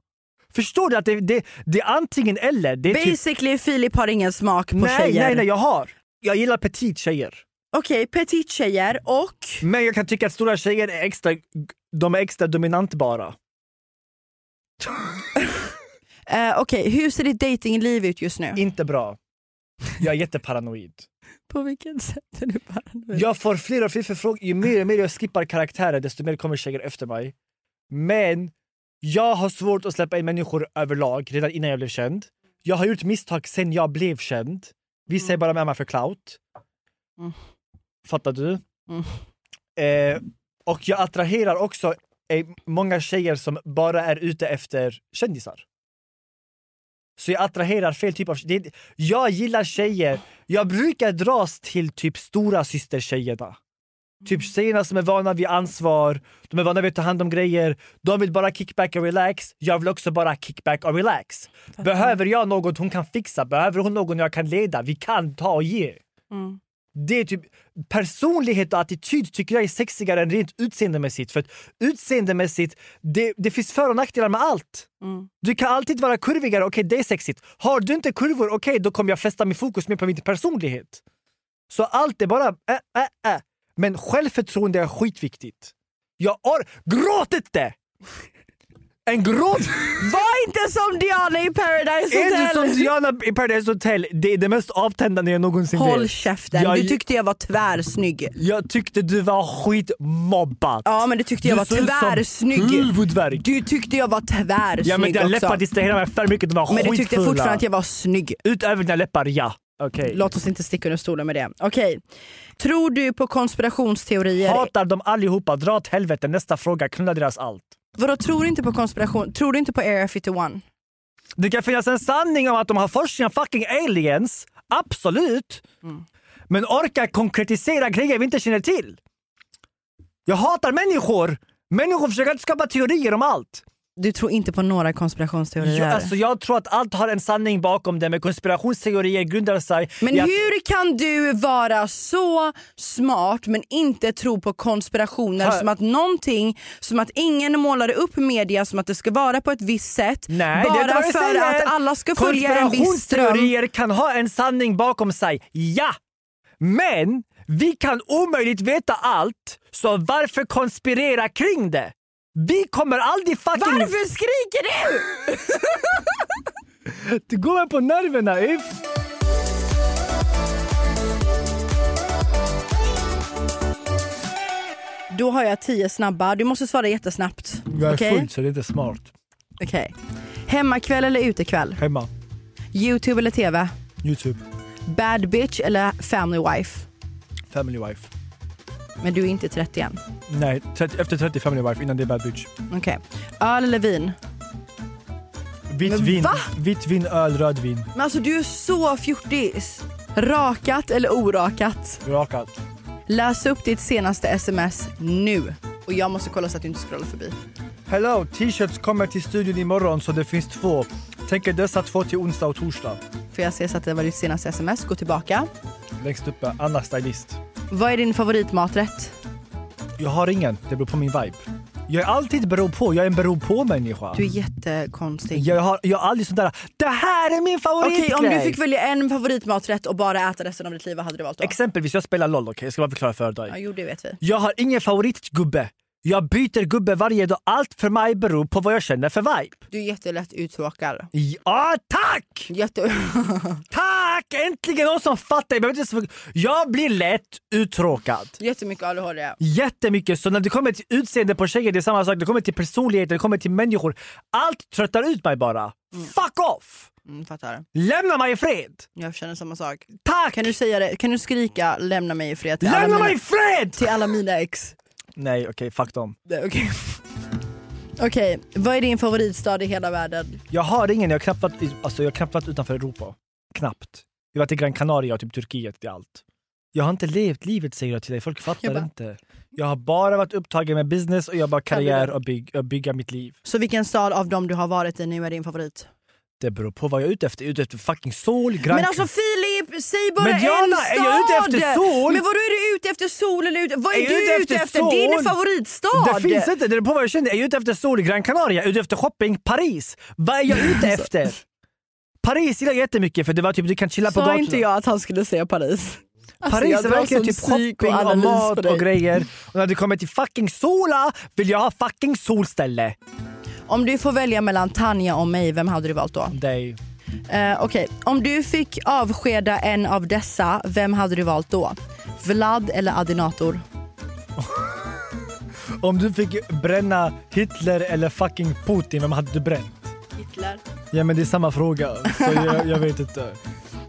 Speaker 5: Förstår du att det, det, det är antingen eller? Det är typ,
Speaker 4: Basically Filip har ingen smak på
Speaker 5: nej,
Speaker 4: tjejer.
Speaker 5: nej, nej, jag har. Jag gillar petit tjejer.
Speaker 4: Okej, petit-tjejer och...
Speaker 5: Men jag kan tycka att stora tjejer är extra, de är extra dominantbara.
Speaker 4: Eh, Okej, hur ser ditt datingliv ut just nu?
Speaker 5: Inte bra. Jag är jätteparanoid.
Speaker 4: På vilket sätt är du paranoid?
Speaker 5: Jag får fler och fler förfrågningar. Ju mer och mer jag skippar karaktärer desto mer kommer tjejer efter mig. Men jag har svårt att släppa in människor överlag redan innan jag blev känd. Jag har gjort misstag sen jag blev känd. Vissa är bara med mig för clout.
Speaker 4: Mm.
Speaker 5: Fattar du?
Speaker 4: Mm.
Speaker 5: Eh, och jag attraherar också eh, många tjejer som bara är ute efter kändisar. Så jag attraherar fel typ av det, Jag gillar tjejer. Jag brukar dras till typ stora systertjejerna. Typ tjejerna som är vana vid ansvar, de är vana vid att ta hand om grejer. De vill bara kickback och relax. Jag vill också bara kickback och relax. Behöver jag något hon kan fixa? Behöver hon någon jag kan leda? Vi kan ta och ge.
Speaker 4: Mm.
Speaker 5: Det är typ, personlighet och attityd tycker jag är sexigare än rent utseendemässigt. För att utseendemässigt, det, det finns för och nackdelar med allt.
Speaker 4: Mm.
Speaker 5: Du kan alltid vara kurvigare, okej det är sexigt. Har du inte kurvor, okej då kommer jag fästa min fokus mer på min personlighet. Så allt är bara äh, äh, äh. Men självförtroende är skitviktigt. Jag har... Gråt inte! En
Speaker 4: *laughs*
Speaker 5: gråt...
Speaker 4: Var inte som Diana i Paradise Hotel!
Speaker 5: är du som Diana i Paradise Hotel? Det är det mest avtändande jag någonsin
Speaker 4: Håll
Speaker 5: vet.
Speaker 4: käften,
Speaker 5: Jag-
Speaker 4: du tyckte jag var tvärsnygg.
Speaker 5: Jag tyckte du var skitmobbad.
Speaker 4: Ja men du tyckte jag
Speaker 5: Du
Speaker 4: var
Speaker 5: ser ut som
Speaker 4: tvärsnygg.
Speaker 5: huvudvärk.
Speaker 4: Du tyckte jag var tvärsnygg
Speaker 5: Ja men dina läppar
Speaker 4: också.
Speaker 5: distraherade mig för mycket, de var
Speaker 4: Men du tyckte
Speaker 5: skitfulla.
Speaker 4: fortfarande att jag var snygg.
Speaker 5: Utöver dina läppar, ja. Okej.
Speaker 4: Låt oss inte sticka under stolen med det. Okej. Tror du på konspirationsteorier?
Speaker 5: Hatar dem allihopa, dra åt helvete. Nästa fråga, knulla deras allt.
Speaker 4: Vadå tror du inte på konspiration? Tror du inte på Area 51?
Speaker 5: Det kan finnas en sanning om att de har forskning om fucking aliens. Absolut. Men orka konkretisera grejer vi inte känner till. Jag hatar människor. Människor försöker inte skapa teorier om allt.
Speaker 4: Du tror inte på några konspirationsteorier?
Speaker 5: Jag, alltså, jag tror att allt har en sanning bakom det, men konspirationsteorier grundar sig
Speaker 4: Men
Speaker 5: i att
Speaker 4: hur kan du vara så smart men inte tro på konspirationer
Speaker 5: Hör-
Speaker 4: som att någonting, som att ingen målade upp media som att det ska vara på ett visst sätt
Speaker 5: Nej, det är inte
Speaker 4: bara
Speaker 5: vad jag
Speaker 4: för
Speaker 5: säger.
Speaker 4: att alla ska följa en viss ström.
Speaker 5: Konspirationsteorier kan ha en sanning bakom sig, ja! Men vi kan omöjligt veta allt, så varför konspirera kring det? Vi kommer aldrig fucking...
Speaker 4: Varför skriker du?
Speaker 5: Du går mig på nerverna If.
Speaker 4: Då har jag tio snabba, du måste svara jättesnabbt.
Speaker 5: Jag är
Speaker 4: Okej?
Speaker 5: full så det är inte smart.
Speaker 4: Okej. Hemmakväll eller utekväll?
Speaker 5: Hemma,
Speaker 4: Youtube eller TV?
Speaker 5: Youtube,
Speaker 4: Bad bitch eller family wife?
Speaker 5: family wife.
Speaker 4: Men du är inte 30 än.
Speaker 5: Nej, 30, efter 30 family wife, innan det är bad bitch.
Speaker 4: Okej. Öl eller vin?
Speaker 5: Vitt
Speaker 4: Men
Speaker 5: vin,
Speaker 4: va?
Speaker 5: vitt vin, öl, röd vin.
Speaker 4: Men alltså du är så fjortis. Rakat eller orakat?
Speaker 5: Rakat.
Speaker 4: Läs upp ditt senaste sms nu. Och jag måste kolla så att du inte scrollar förbi.
Speaker 5: Hello, t-shirts kommer till studion imorgon så det finns två. Tänker dessa två till onsdag och torsdag.
Speaker 4: För jag ser så att det var ditt senaste sms. Gå tillbaka.
Speaker 5: Längst uppe, Anna stylist.
Speaker 4: Vad är din favoritmaträtt?
Speaker 5: Jag har ingen, det beror på min vibe. Jag är alltid beror på, jag är en beror på-människa.
Speaker 4: Du är jättekonstig.
Speaker 5: Jag har, jag har aldrig sån där, det här är min
Speaker 4: Okej,
Speaker 5: favoritgrej!
Speaker 4: om du fick välja en favoritmaträtt och bara äta resten av ditt liv, vad hade du valt då?
Speaker 5: Exempelvis, jag spelar LOL, okej? Jag ska bara förklara för dig.
Speaker 4: ja, jo, det vet vi.
Speaker 5: Jag har ingen favoritgubbe. Jag byter gubbe varje dag. Allt för mig beror på vad jag känner för vibe.
Speaker 4: Du är jättelätt uttråkad.
Speaker 5: Ja, tack!
Speaker 4: Jätte... *laughs*
Speaker 5: Tack! Äntligen någon som fattar. Jag, behöver inte ens- jag blir lätt uttråkad.
Speaker 4: Jättemycket ADHD.
Speaker 5: Jättemycket. Så när det kommer till utseende på tjejer, det är samma sak. Det kommer till personlighet, det kommer till människor. Allt tröttar ut mig bara. Fuck off!
Speaker 4: Mm, fattar.
Speaker 5: Lämna mig i fred!
Speaker 4: Jag känner samma sak.
Speaker 5: Tack!
Speaker 4: Kan du säga det? Kan du skrika lämna mig i fred till, alla
Speaker 5: Lämna mig
Speaker 4: mina,
Speaker 5: i fred!
Speaker 4: till alla mina ex?
Speaker 5: Nej, okej, fuck dem.
Speaker 4: Nej, Okej. *laughs* Okej, vad är din favoritstad i hela världen?
Speaker 5: Jag har ingen, jag har knappt varit, i- alltså, jag har knappt varit utanför Europa. Knappt. Jag har varit i Gran Canaria och typ Turkiet, det är allt. Jag har inte levt livet säger jag till dig, folk fattar
Speaker 4: Jag bara-
Speaker 5: inte. Jag har bara varit upptagen med business och jag bara karriär och, byg, och bygga mitt liv.
Speaker 4: Så vilken stad av dem du har varit i nu är din favorit?
Speaker 5: Det beror på vad jag är ute efter. Jag är ute efter fucking sol, Gran
Speaker 4: Men alltså Filip, säg bara
Speaker 5: Men Diana,
Speaker 4: en stad!
Speaker 5: är jag ute efter sol?
Speaker 4: Men vadå är du ute efter sol eller ute? Vad är,
Speaker 5: Är jag
Speaker 4: du
Speaker 5: ute
Speaker 4: ute
Speaker 5: efter
Speaker 4: efter?
Speaker 5: sol?
Speaker 4: Din favoritstad!
Speaker 5: Det finns inte, det beror på vad jag känner. Jag är ute efter sol, Gran Canaria, jag är ute efter shopping, Paris. Vad
Speaker 4: *laughs*
Speaker 5: är jag ute efter? Paris gillar jag jättemycket för det var typ du kan chilla på
Speaker 4: Sa
Speaker 5: gatorna.
Speaker 4: inte jag att han skulle säga Paris? Alltså,
Speaker 5: Paris
Speaker 4: jag
Speaker 5: är
Speaker 4: drar
Speaker 5: verkligen
Speaker 4: sån
Speaker 5: typ shopping och
Speaker 4: psykoanalys på
Speaker 5: mat
Speaker 4: dig.
Speaker 5: och grejer. Och när det kommer till fucking sola vill jag ha fucking solställe.
Speaker 4: Om du får välja mellan Tanja och mig, vem hade du valt då?
Speaker 5: Dig.
Speaker 4: Eh, Okej, om du fick avskeda en av dessa, vem hade du valt då? Vlad eller Adinator?
Speaker 5: Om du fick bränna Hitler eller fucking Putin, vem hade du bränt?
Speaker 4: Hitler.
Speaker 5: Ja men det är samma fråga, så jag,
Speaker 4: *laughs*
Speaker 5: jag vet inte.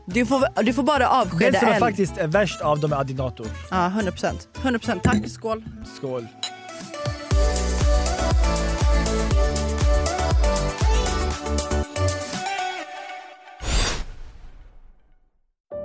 Speaker 4: Du får, du får bara
Speaker 5: Den
Speaker 4: avskeda
Speaker 5: som är
Speaker 4: en.
Speaker 5: faktiskt är värst av dem är Adinator.
Speaker 4: Ja, 100 procent. 100 procent. Tack, skål.
Speaker 5: Skål.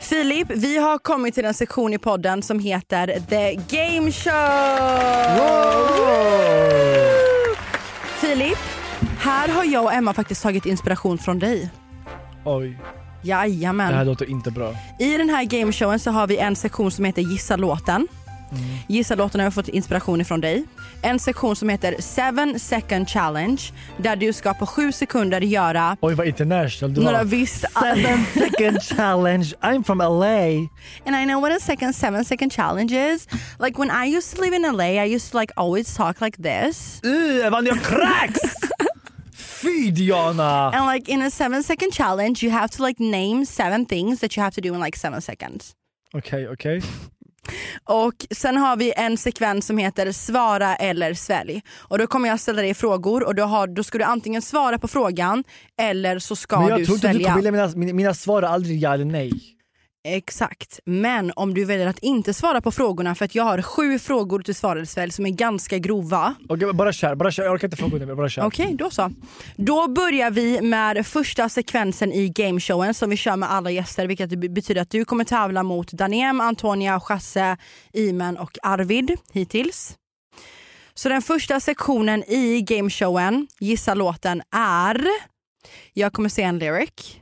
Speaker 4: Filip, vi har kommit till en sektion i podden som heter The Game Show! Filip, här har jag och Emma faktiskt tagit inspiration från dig.
Speaker 5: Oj,
Speaker 4: Jajamän.
Speaker 5: det här låter inte bra.
Speaker 4: I den här gameshowen så har vi en sektion som heter Gissa låten. Gissa låten har jag fått inspiration ifrån dig. En sektion som heter 7 second challenge där du ska på 7 sekunder göra
Speaker 5: Oj vad international du
Speaker 4: några
Speaker 5: var.
Speaker 4: visst...
Speaker 5: Seven second challenge, I'm from LA.
Speaker 4: And I know what a second seven second challenge is. Like when I used to live in LA I used to like always talk like this.
Speaker 5: Uh, man jag kräks! Fy Diana!
Speaker 4: And like in a seven second challenge you have to like name seven things that you have to do in like seven seconds.
Speaker 5: Okej, okej.
Speaker 4: Och sen har vi en sekvens som heter svara eller svälj. Och då kommer jag ställa dig frågor och då, har, då ska du antingen svara på frågan eller så ska
Speaker 5: Men jag
Speaker 4: du
Speaker 5: tror inte du
Speaker 4: svälja.
Speaker 5: kommer vilja mina, mina, mina svar är aldrig ja eller nej.
Speaker 4: Exakt. Men om du väljer att inte svara på frågorna för att jag har sju frågor till svara eller svälj som är ganska grova.
Speaker 5: Okej, bara kör, bara kör. Jag orkar inte fråga dig mer, bara kör.
Speaker 4: Okej, då så. Då börjar vi med första sekvensen i gameshowen som vi kör med alla gäster vilket be- betyder att du kommer tävla mot Danem, Antonia, Chasse, Iman och Arvid hittills. Så den första sektionen i gameshowen, gissa låten, är... Jag kommer säga en lyric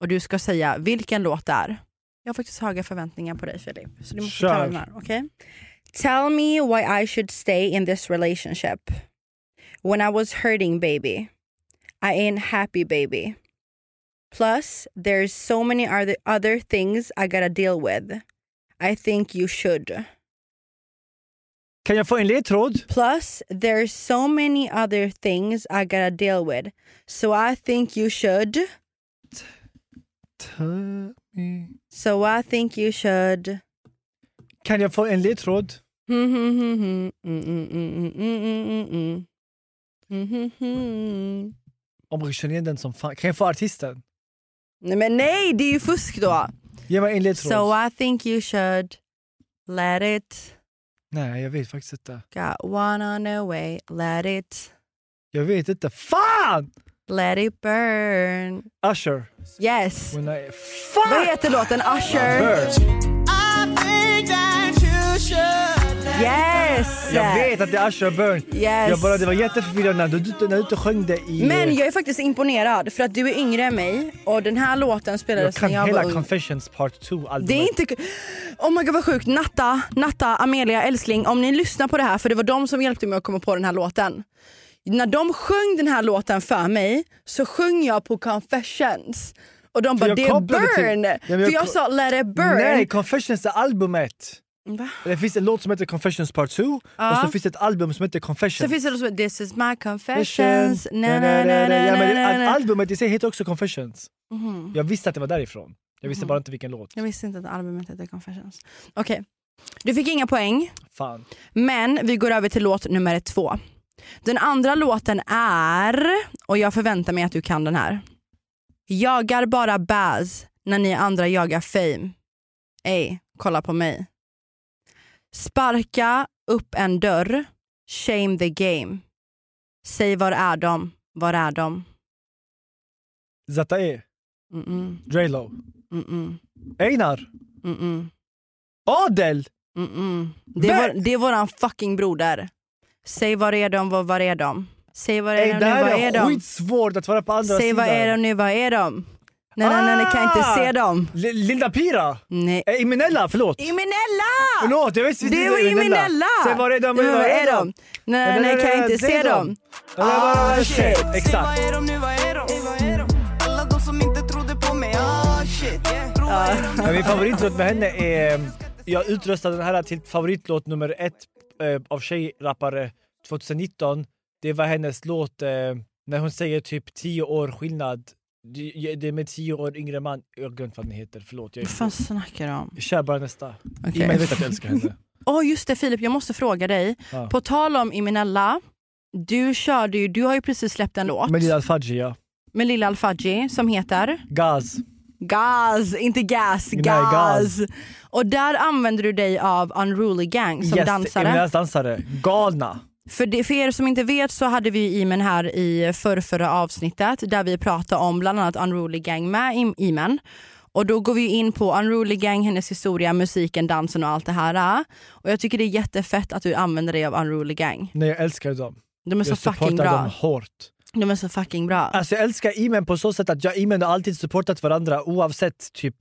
Speaker 4: och du ska säga vilken låt det är. Jag har faktiskt höga förväntningar på dig Filip. Så du måste
Speaker 5: Kör.
Speaker 4: ta den här, okej? Tell me why I should stay in this relationship. When I was hurting baby. I ain't happy baby. Plus, there's so many other, other things I gotta deal with. I think you should.
Speaker 5: Kan jag få en ledtråd?
Speaker 4: Plus, there's so many other things I gotta deal with. So I think you should. So I think you should.
Speaker 5: Kan jag få en ledtråd? Om jag känner igen den som fan. Kan jag få artisten?
Speaker 4: Nej men nej, det är ju fusk då!
Speaker 5: Ge mig en ledtråd.
Speaker 4: So I think you should let it
Speaker 5: Nej, jag vet faktiskt inte.
Speaker 4: got one on the way, let it,
Speaker 5: Jag vet inte. Fan!
Speaker 4: let it burn.
Speaker 5: Usher.
Speaker 4: Yes!
Speaker 5: When I...
Speaker 4: Vad
Speaker 5: Fan!
Speaker 4: heter låten? Usher?
Speaker 5: Birds.
Speaker 4: Yes!
Speaker 5: Jag vet att det är Usher och Burn.
Speaker 4: Yes.
Speaker 5: Jag bara, det var jätteförvirrande när du, när du inte sjöng det i...
Speaker 4: Men jag är faktiskt imponerad för att du är yngre än mig och den här låten
Speaker 5: jag
Speaker 4: spelades
Speaker 5: kan
Speaker 4: när jag
Speaker 5: hela
Speaker 4: var ung.
Speaker 5: Confessions Part 2
Speaker 4: Det är inte... Oh my god vad sjukt. Natta, Natta, Amelia, älskling. Om ni lyssnar på det här, för det var de som hjälpte mig att komma på den här låten. När de sjöng den här låten för mig så sjöng jag på Confessions. Och de
Speaker 5: För
Speaker 4: bara
Speaker 5: jag
Speaker 4: det är
Speaker 5: kopplade till-
Speaker 4: burn.
Speaker 5: Ja, men
Speaker 4: för
Speaker 5: jag
Speaker 4: jag
Speaker 5: ko-
Speaker 4: sa let it burn.
Speaker 5: Nej, Confessions är albumet.
Speaker 4: Va?
Speaker 5: Det finns en låt som heter Confessions Part 2 och så finns det ett album som heter
Speaker 4: Så
Speaker 5: Confessions.
Speaker 4: finns det något som heter This is my confessions. Na, na, na,
Speaker 5: Ja,
Speaker 4: na,
Speaker 5: men
Speaker 4: na,
Speaker 5: al-
Speaker 4: na, na.
Speaker 5: Albumet i sig heter också Confessions.
Speaker 4: Mhm.
Speaker 5: Jag visste att det var därifrån. Jag visste bara inte vilken låt.
Speaker 4: Jag visste inte att albumet hette Confessions. Okej, Du fick inga poäng.
Speaker 5: Fan.
Speaker 4: Men vi går över till låt nummer två. Den andra låten är, och jag förväntar mig att du kan den här. Jagar bara Baz när ni andra jagar fame. Ey, kolla på mig. Sparka upp en dörr, shame the game. Säg var är de, var är de? Mm,
Speaker 5: Zatae.
Speaker 4: Mm-mm.
Speaker 5: Draylo.
Speaker 4: Mm-mm.
Speaker 5: Einar.
Speaker 4: Mm-mm.
Speaker 5: Adel.
Speaker 4: Mm-mm. mm, Det, är
Speaker 5: Vä-
Speaker 4: vår, det är våran fucking broder. Säg var är de, var, var är de? Säg var är
Speaker 5: Ey,
Speaker 4: de
Speaker 5: det
Speaker 4: nu, var
Speaker 5: här
Speaker 4: är
Speaker 5: är
Speaker 4: de?
Speaker 5: skitsvårt att vara på andra
Speaker 4: Säg
Speaker 5: sidan.
Speaker 4: var är de nu, var är de? Nej nej nej, nej kan jag inte se dem.
Speaker 5: Li- Linda Pira?
Speaker 4: Nej.
Speaker 5: Eh, Imenella, förlåt.
Speaker 4: Iminella!
Speaker 5: Förlåt, jag visste
Speaker 4: Det var Iminella!
Speaker 5: Säg var är de?
Speaker 4: Nu, Var är de? Nej nej, nej kan jag inte se dem.
Speaker 5: Ah, shit. Exakt.
Speaker 11: Vad är de nu, vad är de? Alla de som inte trodde på mig, ah shit yeah. Prova är de nu?
Speaker 5: Men min favoritlåt med henne är... Jag utröstade den här till favoritlåt nummer ett eh, av tjejrappare 2019. Det var hennes låt eh, när hon säger typ 10 år skillnad. Det- Det är med 10 år yngre man. Jag har glömt vad den heter, förlåt. Jag
Speaker 4: Vad fan snackar du om?
Speaker 5: Kör bara nästa.
Speaker 4: Okej.
Speaker 5: Imen vet att jag älskar
Speaker 4: *laughs*
Speaker 5: henne.
Speaker 4: Åh oh, just det Filip, jag måste fråga dig.
Speaker 5: Ja.
Speaker 4: På tal om Iminella, du körde ju, du har ju precis släppt en låt
Speaker 5: Melina Al-Fadji, ja.
Speaker 4: med Lilla Alfaji som heter?
Speaker 5: Gaz.
Speaker 4: Gas, inte gas,
Speaker 5: Nej,
Speaker 4: gas.
Speaker 5: gas.
Speaker 4: Och där använder du dig av Unruly Gang som
Speaker 5: yes,
Speaker 4: dansare.
Speaker 5: Imenellas dansare. Galna.
Speaker 4: För, det, för er som inte vet så hade vi ju Imen här i förrförra avsnittet där vi pratade om bland annat Unruly Gang med Im- Imen. Och då går vi ju in på Unruly Gang, hennes historia, musiken, dansen och allt det här. Och jag tycker det är jättefett att du använder dig av Unruly Gang.
Speaker 5: Nej, jag älskar dem.
Speaker 4: De är så
Speaker 5: jag
Speaker 4: Alltså, fucking
Speaker 5: supportar dem
Speaker 4: bra.
Speaker 5: hårt.
Speaker 4: De är så fucking bra.
Speaker 5: Alltså jag älskar Imen på så sätt att jag och Imen har alltid supportat varandra oavsett typ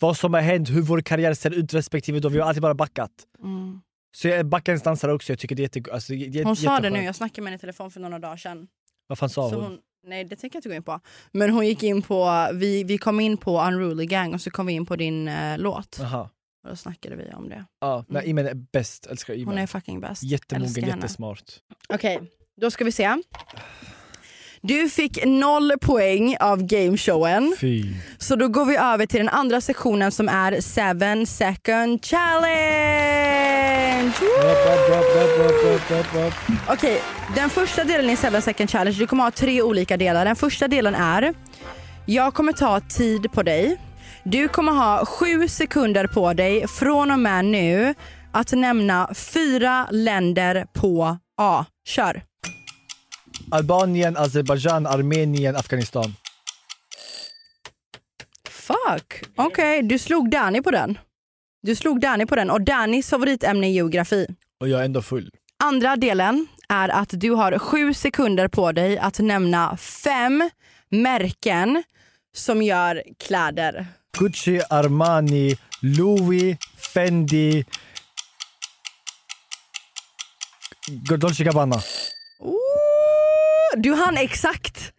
Speaker 5: vad som har hänt, hur vår karriär ser ut respektive då. Vi har alltid bara backat.
Speaker 4: Mm.
Speaker 5: Så jag backar ens dansare också. Jag tycker det är jätte, alltså, det är jätte-
Speaker 4: Hon sa det
Speaker 5: jätteskönt.
Speaker 4: nu, jag snackade med henne i telefon för några dagar sedan.
Speaker 5: Vad fan sa
Speaker 4: Så
Speaker 5: hon?
Speaker 4: hon, nej det tänker jag inte gå in på. Men hon gick in på, vi, vi kom in på Unruly Gang och så kom vi in på din eh, låt.
Speaker 5: Aha.
Speaker 4: Och då snackade vi om det.
Speaker 5: Ja, nej, Imen är bäst. Älskar Imen.
Speaker 4: Mm. Hon är fucking bäst. Älskar
Speaker 5: Jättemogen,
Speaker 4: henne.
Speaker 5: jättesmart.
Speaker 4: Okej, då ska vi se. Du fick noll poäng av gameshowen.
Speaker 5: Fy.
Speaker 4: Så då går vi över till den andra sektionen som är 7 second challenge! Okej, den första delen i 7 second challenge, du kommer ha tre olika delar. Den första delen är, jag kommer ta tid på dig. Du kommer ha sju sekunder på dig från och med nu att nämna fyra länder på A. Kör!
Speaker 5: Albanien, Azerbaijan, Armenien, Afghanistan.
Speaker 4: Fuck! Okej, du slog Danny på den. Du slog Danny på den och Dannys favoritämne är geografi.
Speaker 5: Och jag är ändå full.
Speaker 4: Andra delen är att du har sju sekunder på dig att nämna fem märken som gör kläder.
Speaker 5: Gucci, Armani, Louis, Fendi, Dolce Gabbana.
Speaker 4: Du hann exakt.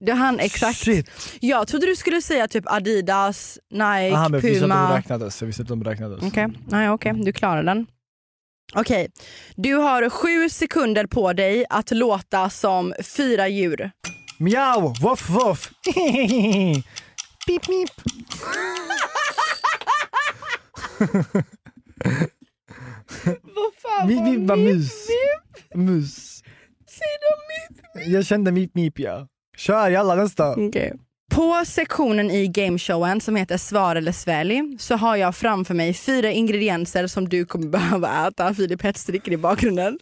Speaker 4: Du hann exakt. Jag trodde du skulle säga typ Adidas, Nike,
Speaker 5: Aha, men vi visste att de
Speaker 4: Puma.
Speaker 5: räknades. Jag visste att de räknades.
Speaker 4: Okej, okay. okay. du klarar den. Okej, du har sju sekunder på dig att låta som fyra djur.
Speaker 5: Miau, voff
Speaker 4: *laughs*
Speaker 5: voff. pip *laughs* pip.
Speaker 4: Vad fan
Speaker 5: Mip mip var mus. Mus.
Speaker 4: Säg då mip.
Speaker 5: Jag kände mip mip ja. Kör jalla nästa.
Speaker 4: Okej. På sektionen i gameshowen som heter Svar eller svälj så har jag framför mig fyra ingredienser som du kommer behöva äta. Filip Hetsdricker i bakgrunden.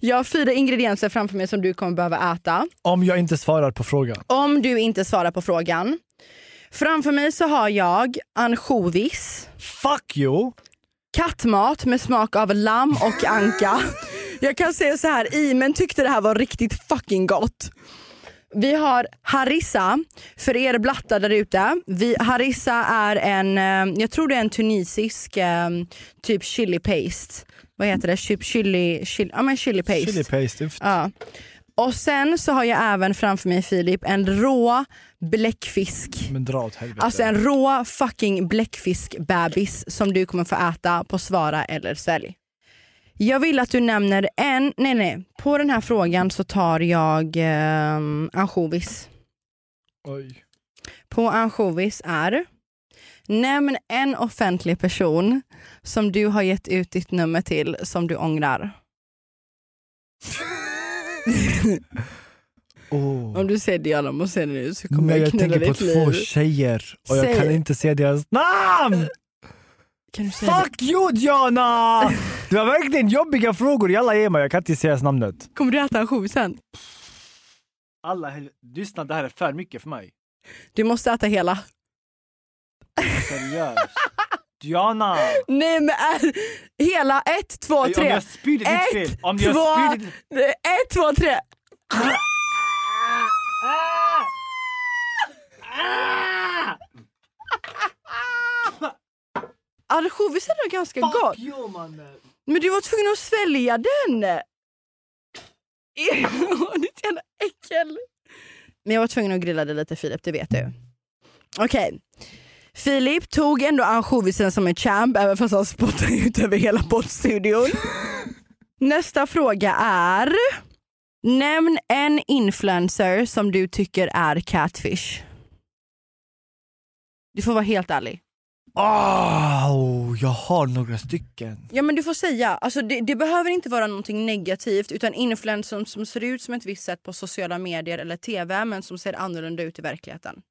Speaker 4: Jag har fyra ingredienser framför mig som du kommer behöva äta
Speaker 5: Om jag inte svarar på frågan.
Speaker 4: om du inte svarar på frågan. Framför mig så har jag ansjovis.
Speaker 5: Fuck you!
Speaker 4: Kattmat med smak av lamm och anka. Jag kan säga så här, Imen tyckte det här var riktigt fucking gott. Vi har harissa, för er blattar där ute. Vi- Harissa är en, eh, jag tror det är en tunisisk eh, typ chili paste. Vad heter det? Typ chili, chili, ja men chili paste.
Speaker 5: Chili paste.
Speaker 4: Ja. Och sen så har jag även framför mig Filip en rå bläckfisk.
Speaker 5: Men dra åt helvete.
Speaker 4: Alltså en rå fucking bläckfiskbebis som du kommer få äta på svara eller svälj. Jag vill att du nämner en, nej nej, på den här frågan så tar jag eh, ansjovis.
Speaker 5: Oj.
Speaker 4: På ansjovis är Nämn en offentlig person som du har gett ut ditt nummer till som du ångrar. Om du säger Diana Mosén nu så kommer
Speaker 5: Men
Speaker 4: jag,
Speaker 5: jag
Speaker 4: knulla
Speaker 5: tänker på
Speaker 4: ditt
Speaker 5: två
Speaker 4: liv.
Speaker 5: tjejer och jag
Speaker 4: Säg-
Speaker 5: kan inte säga deras
Speaker 4: *laughs*
Speaker 5: namn!
Speaker 4: Kan du säga
Speaker 5: Fuck you
Speaker 4: *laughs*
Speaker 5: Diana! Det var verkligen jobbiga frågor. Jalla ge mig, jag kan inte säga ens namnet.
Speaker 4: det? Kommer du äta ansjovis sen?
Speaker 5: Alla, hel- lyssna det här är för mycket för mig.
Speaker 4: Du måste äta hela.
Speaker 5: Seriöst. *laughs* Diana!
Speaker 4: Nej men är... hela, ett, två,
Speaker 5: Om
Speaker 4: tre.
Speaker 5: jag spyr, det är ditt
Speaker 4: ett,
Speaker 5: fel. Om jag
Speaker 4: två,
Speaker 5: spyr, det är
Speaker 4: ett, två, tre. Ansjovisen är ganska gott.
Speaker 5: you mannen!
Speaker 4: Men du var tvungen att svälja den! *laughs* Åh, Ditt jävla äckel! Men jag var tvungen att grilla dig lite Filip, det vet du. Okej. Filip tog ändå ansjovisen som en champ även fast han spottade ut över hela poddstudion. Nästa fråga är... Nämn en influencer som du tycker är catfish. Du får vara helt ärlig.
Speaker 5: Åh, jag har några stycken.
Speaker 4: Ja men du får säga, alltså, det, det behöver inte vara någonting negativt utan influencers som, som ser ut som ett visst sätt på sociala medier eller tv men som ser annorlunda ut i verkligheten.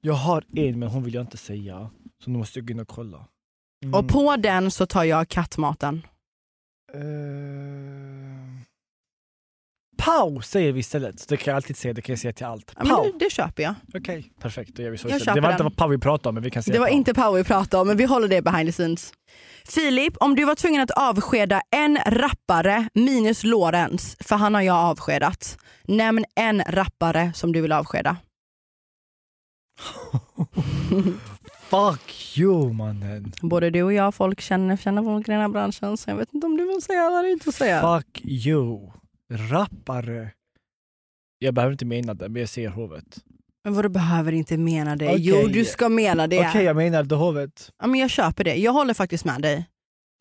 Speaker 5: Jag har en men hon vill jag inte säga. Så nu måste jag gå in och kolla. Mm.
Speaker 4: Och på den så tar jag kattmaten.
Speaker 5: Eh, Pau säger vi istället. Så det kan jag alltid säga, det kan jag säga till allt.
Speaker 4: Ja, men
Speaker 5: Pau!
Speaker 4: det, det köper jag.
Speaker 5: Okej, perfekt. Då gör vi så
Speaker 4: Jag
Speaker 5: istället. Det
Speaker 4: köper
Speaker 5: var inte
Speaker 4: den.
Speaker 5: vad Pau vi pratade om men vi kan säga
Speaker 4: Det var
Speaker 5: Pau.
Speaker 4: inte power vi pratade om men vi håller det behind the scenes. Filip, om du var tvungen att avskeda en rappare minus Lorenz, för han har jag avskedat. Nämn en rappare som du vill avskeda.
Speaker 5: Fuck you mannen.
Speaker 4: Både du och jag, folk känner, känner folk i den här branschen så jag vet inte om du vill säga eller inte säga.
Speaker 5: Fuck you. Rappare. Jag behöver inte mena det men jag säger hovet.
Speaker 4: Men vadå behöver inte mena det?
Speaker 5: Okej.
Speaker 4: Jo du ska mena det.
Speaker 5: Okej jag menar det hovet.
Speaker 4: Ja, men jag köper det, jag håller faktiskt med dig.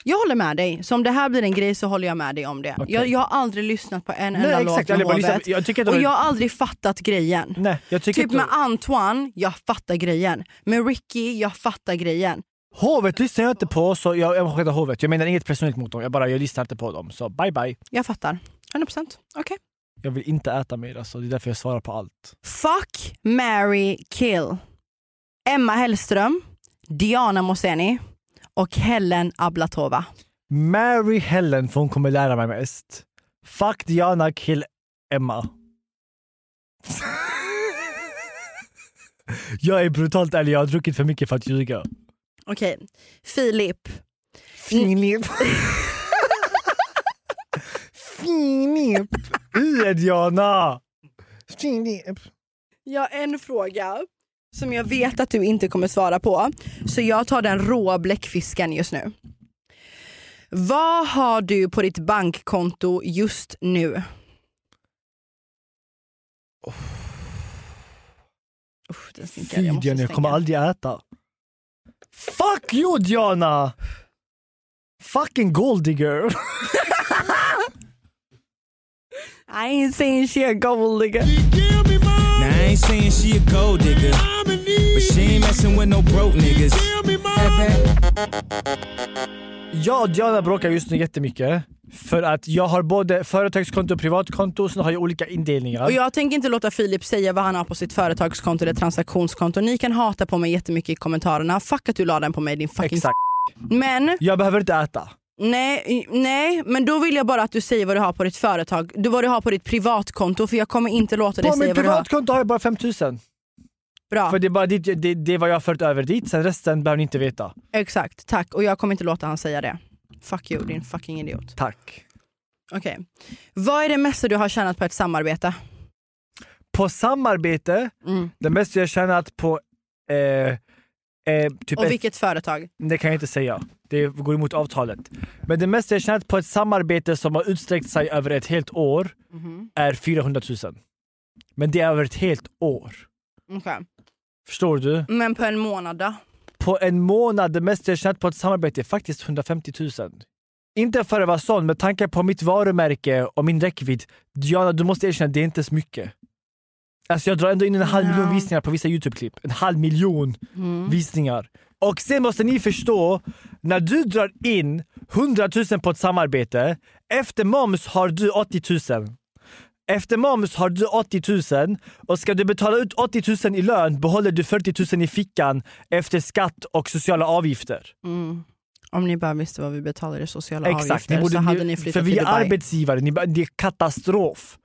Speaker 4: Jag håller med dig, så om det här blir en grej så håller jag med dig om det.
Speaker 5: Okej.
Speaker 4: Jag, jag har aldrig lyssnat på en
Speaker 5: Nej,
Speaker 4: enda
Speaker 5: exakt.
Speaker 4: låt
Speaker 5: Jag
Speaker 4: med
Speaker 5: hade bara liksom- lyssnat-
Speaker 4: Hovet.
Speaker 5: jag tycker att det
Speaker 4: och
Speaker 5: var-
Speaker 4: jag har aldrig fattat grejen.
Speaker 5: Nej, jag tycker
Speaker 4: typ
Speaker 5: inte-
Speaker 4: med Antoine, jag fattar grejen. Med Ricky, jag fattar grejen.
Speaker 5: Hovet lyssnar jag inte på så jag, jag avskedar hovet. Jag menar inget personligt mot dem. Jag bara jag lyssnar inte på dem. Så bye bye.
Speaker 4: Jag fattar. 100%. Okej.
Speaker 5: Jag vill inte äta mer alltså. Det är därför jag svarar på allt.
Speaker 4: Fuck, marry, kill. Emma Hellström, Diana Moseni och Helen Ablatova.
Speaker 5: Mary Helen för hon kommer lära mig mest. Fuck Diana, kill Emma. *laughs* jag är brutalt ärlig, jag har druckit för mycket för att ljuga.
Speaker 4: Okej, Filip.
Speaker 5: Filip. Filip. I Diana!
Speaker 12: Filip.
Speaker 4: Jag har en fråga som jag vet att du inte kommer svara på. Så jag tar den råa bläckfisken just nu. Vad har du på ditt bankkonto just nu? Uff, den stinker.
Speaker 5: Fy
Speaker 4: Jag måste
Speaker 5: Diana, jag kommer
Speaker 4: stänga.
Speaker 5: aldrig äta. Fuck you Diana! Fucking golddigger!
Speaker 4: I ain't saying she a gold digger.
Speaker 13: Now I ain't saying she a gold digger, but she ain't messing with no broke niggas.
Speaker 5: Jag och Diana bråkar just nu jättemycket. För att jag har både företagskonto och privatkonto, sen har jag olika indelningar.
Speaker 4: Och jag tänker inte låta Filip säga vad han har på sitt företagskonto eller transaktionskonto. Ni kan hata på mig jättemycket i kommentarerna. Fuck att du la den på mig din fucking
Speaker 5: Exakt.
Speaker 4: Men
Speaker 5: Jag behöver inte äta.
Speaker 4: Nej, nej, men då vill jag bara att du säger vad du har på ditt företag. Du, vad du har på ditt privatkonto för jag kommer inte låta dig
Speaker 5: På
Speaker 4: säga
Speaker 5: mitt
Speaker 4: vad du har.
Speaker 5: privatkonto har jag bara 5000.
Speaker 4: Bra,
Speaker 5: För det är bara dit, det, det är vad jag har fört över dit, sen resten behöver ni inte veta.
Speaker 4: exakt. Tack. Och jag kommer inte låta han säga det. Fuck you, din fucking idiot.
Speaker 5: Tack.
Speaker 4: Okej. Vad är det mesta du har tjänat på ett samarbete?
Speaker 5: På samarbete,
Speaker 4: Mm.
Speaker 5: det mesta jag tjänat på... Eh, eh, typ
Speaker 4: Och
Speaker 5: ett-
Speaker 4: vilket företag?
Speaker 5: Det kan jag inte säga. Det går emot avtalet. Men det mesta jag tjänat på ett samarbete som har utsträckt sig över ett helt år är 400 000. Men det är över ett helt år.
Speaker 4: Okej.
Speaker 5: Förstår du?
Speaker 4: Men på en månad då?
Speaker 5: På en månad, det mesta jag tjänat på ett samarbete är faktiskt 150 000. Inte för att vara sån, med tanke på mitt varumärke och min räckvidd. Diana, du måste erkänna, det är inte så mycket. Alltså jag drar ändå in en halv miljon visningar på vissa Youtube-klipp. En halv miljon
Speaker 14: Mm.
Speaker 5: visningar. Och sen måste ni förstå, när du drar in 100 000 på ett samarbete, efter moms har du 80 000. Efter moms har du 80 000 och ska du betala ut 80 000 i lön behåller du 40 000 i fickan efter skatt och sociala avgifter.
Speaker 4: Mm. Om ni bara visste vad vi betalar i sociala
Speaker 5: Exakt,
Speaker 4: avgifter
Speaker 5: ni borde-
Speaker 4: så hade
Speaker 5: ni-
Speaker 4: ni
Speaker 5: för
Speaker 4: flyttat
Speaker 5: vi
Speaker 4: till
Speaker 5: är
Speaker 4: Dubai.
Speaker 5: arbetsgivare, ni, det är katastrof.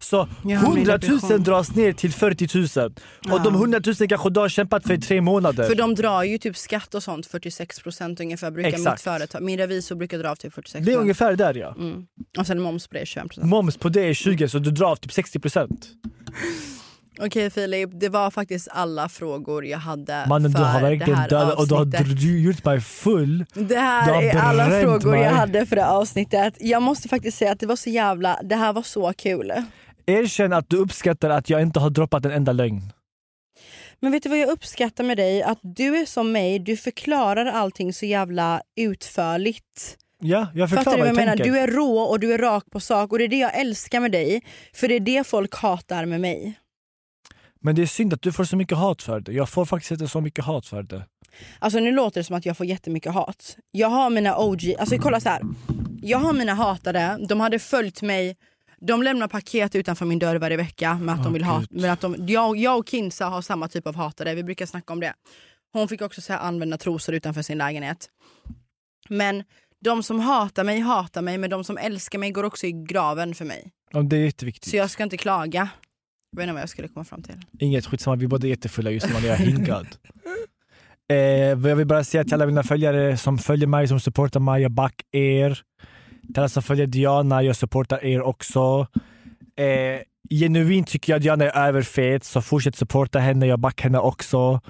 Speaker 5: Så
Speaker 4: Ja,
Speaker 5: 100
Speaker 4: min
Speaker 5: 000
Speaker 4: depression.
Speaker 5: dras ner till 40 000 och
Speaker 4: Ja.
Speaker 5: de 100 000 kanske du har kämpat för i tre månader.
Speaker 4: För de drar ju typ skatt och sånt, 46 procent ungefär brukar mitt
Speaker 5: Exakt.
Speaker 4: företag, min revisor brukar dra av typ 46
Speaker 5: det är ungefär där ja.
Speaker 4: Mm. Och sen moms på det är 25
Speaker 5: Moms på det är 20 så du drar av typ 60 procent.
Speaker 4: Okej Filip, det var faktiskt alla frågor jag hade
Speaker 5: Mannen
Speaker 4: för
Speaker 5: du har
Speaker 4: det
Speaker 5: verkligen
Speaker 4: här
Speaker 5: dödat och du har
Speaker 4: avsnittet.
Speaker 5: dr- gjort mig full.
Speaker 4: Det
Speaker 5: Du
Speaker 4: här
Speaker 5: har
Speaker 4: är alla
Speaker 5: bränt
Speaker 4: frågor
Speaker 5: mig.
Speaker 4: jag hade för det här avsnittet. Jag måste faktiskt säga att det var så jävla, det här var så kul.
Speaker 5: Erkänn att du uppskattar att jag inte har droppat en enda lögn.
Speaker 4: Men vet du vad jag uppskattar med dig? Att du är som mig, du förklarar allting så jävla utförligt.
Speaker 5: Ja, jag
Speaker 4: Fattar
Speaker 5: förklarar
Speaker 4: du vad jag menar?
Speaker 5: tänker.
Speaker 4: Du är rå och du är rak på sak och det är det jag älskar med dig. För det är det folk hatar med mig.
Speaker 5: Men det är synd att du får så mycket hat för det. Jag får faktiskt inte så mycket hat för det.
Speaker 4: Alltså nu låter det som att jag får jättemycket hat. Jag har mina OG, alltså kolla så här. Jag har mina hatare, de hade följt mig de lämnar paket utanför min dörr varje vecka med att de
Speaker 15: Åh,
Speaker 4: vill ha...
Speaker 15: Gud.
Speaker 4: Med att de, jag, jag och Kinsa har samma typ av hatare, vi brukar snacka om det. Hon fick också så här använda trosor utanför sin lägenhet. Men de som hatar mig hatar mig, men de som älskar mig går också i graven för mig.
Speaker 5: Ja, Det är jätteviktigt.
Speaker 4: Så jag ska inte klaga. Jag vet inte vad jag skulle komma fram till.
Speaker 5: Inget, skitsamma. Vi är båda jättefulla just nu. Man är hinkad. *laughs* Eh, jag vill bara säga till alla mina följare som följer mig, som supportar mig, jag back er. Till alla som följer Diana, jag supportar er också. Eh, genuint tycker jag Diana är överfet, så fortsätt supporta henne, jag back henne också.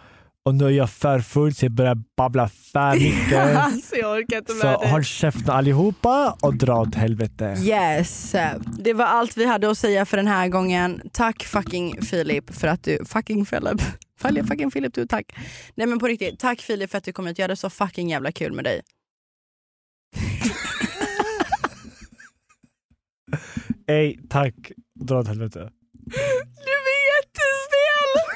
Speaker 5: Och nu är jag för full så jag börjar babbla
Speaker 4: *laughs*
Speaker 5: för
Speaker 15: Eh,
Speaker 5: mycket.
Speaker 4: alltså jag orkar inte med
Speaker 5: så
Speaker 4: det.
Speaker 5: håll käften allihopa och dra åt helvete.
Speaker 4: Yes, det var allt vi hade att säga för den här gången. Tack fucking Filip för att du, fucking Filip, *laughs* Falle fucking Filip du tack. Nej men på riktigt, tack Filip för att du kom hit. Jag hade så fucking jävla kul med dig. *laughs*
Speaker 5: Ey, tack. Dra åt helvete.
Speaker 4: Du
Speaker 5: *laughs*
Speaker 4: är jättesnäll!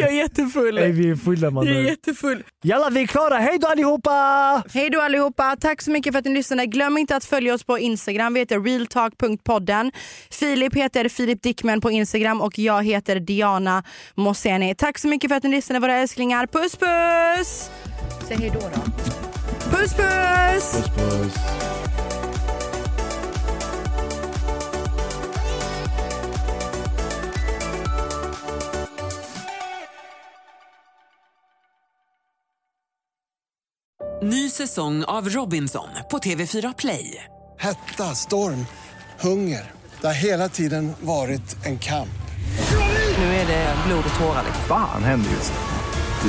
Speaker 4: Jag är jättefull.
Speaker 5: Ey, vi är fulla
Speaker 4: Jag är
Speaker 5: mannen.
Speaker 4: jättefull.
Speaker 5: Jalla vi är klara, hej då allihopa!
Speaker 4: Hej då allihopa, tack så mycket för att ni lyssnade. Glöm inte att följa oss på Instagram, vi heter realtalk.podden. Filip heter Filip Dickman på Instagram och jag heter Diana Moseni. Tack så mycket för att ni lyssnade våra älsklingar. Puss puss! Säg hej då då. Puss puss!
Speaker 1: Ny säsong av Robinson på TV4 Play.
Speaker 2: Hetta, storm, hunger. Det har hela tiden varit en kamp.
Speaker 1: Nu är det blod och tårar.
Speaker 3: Fan händer just det.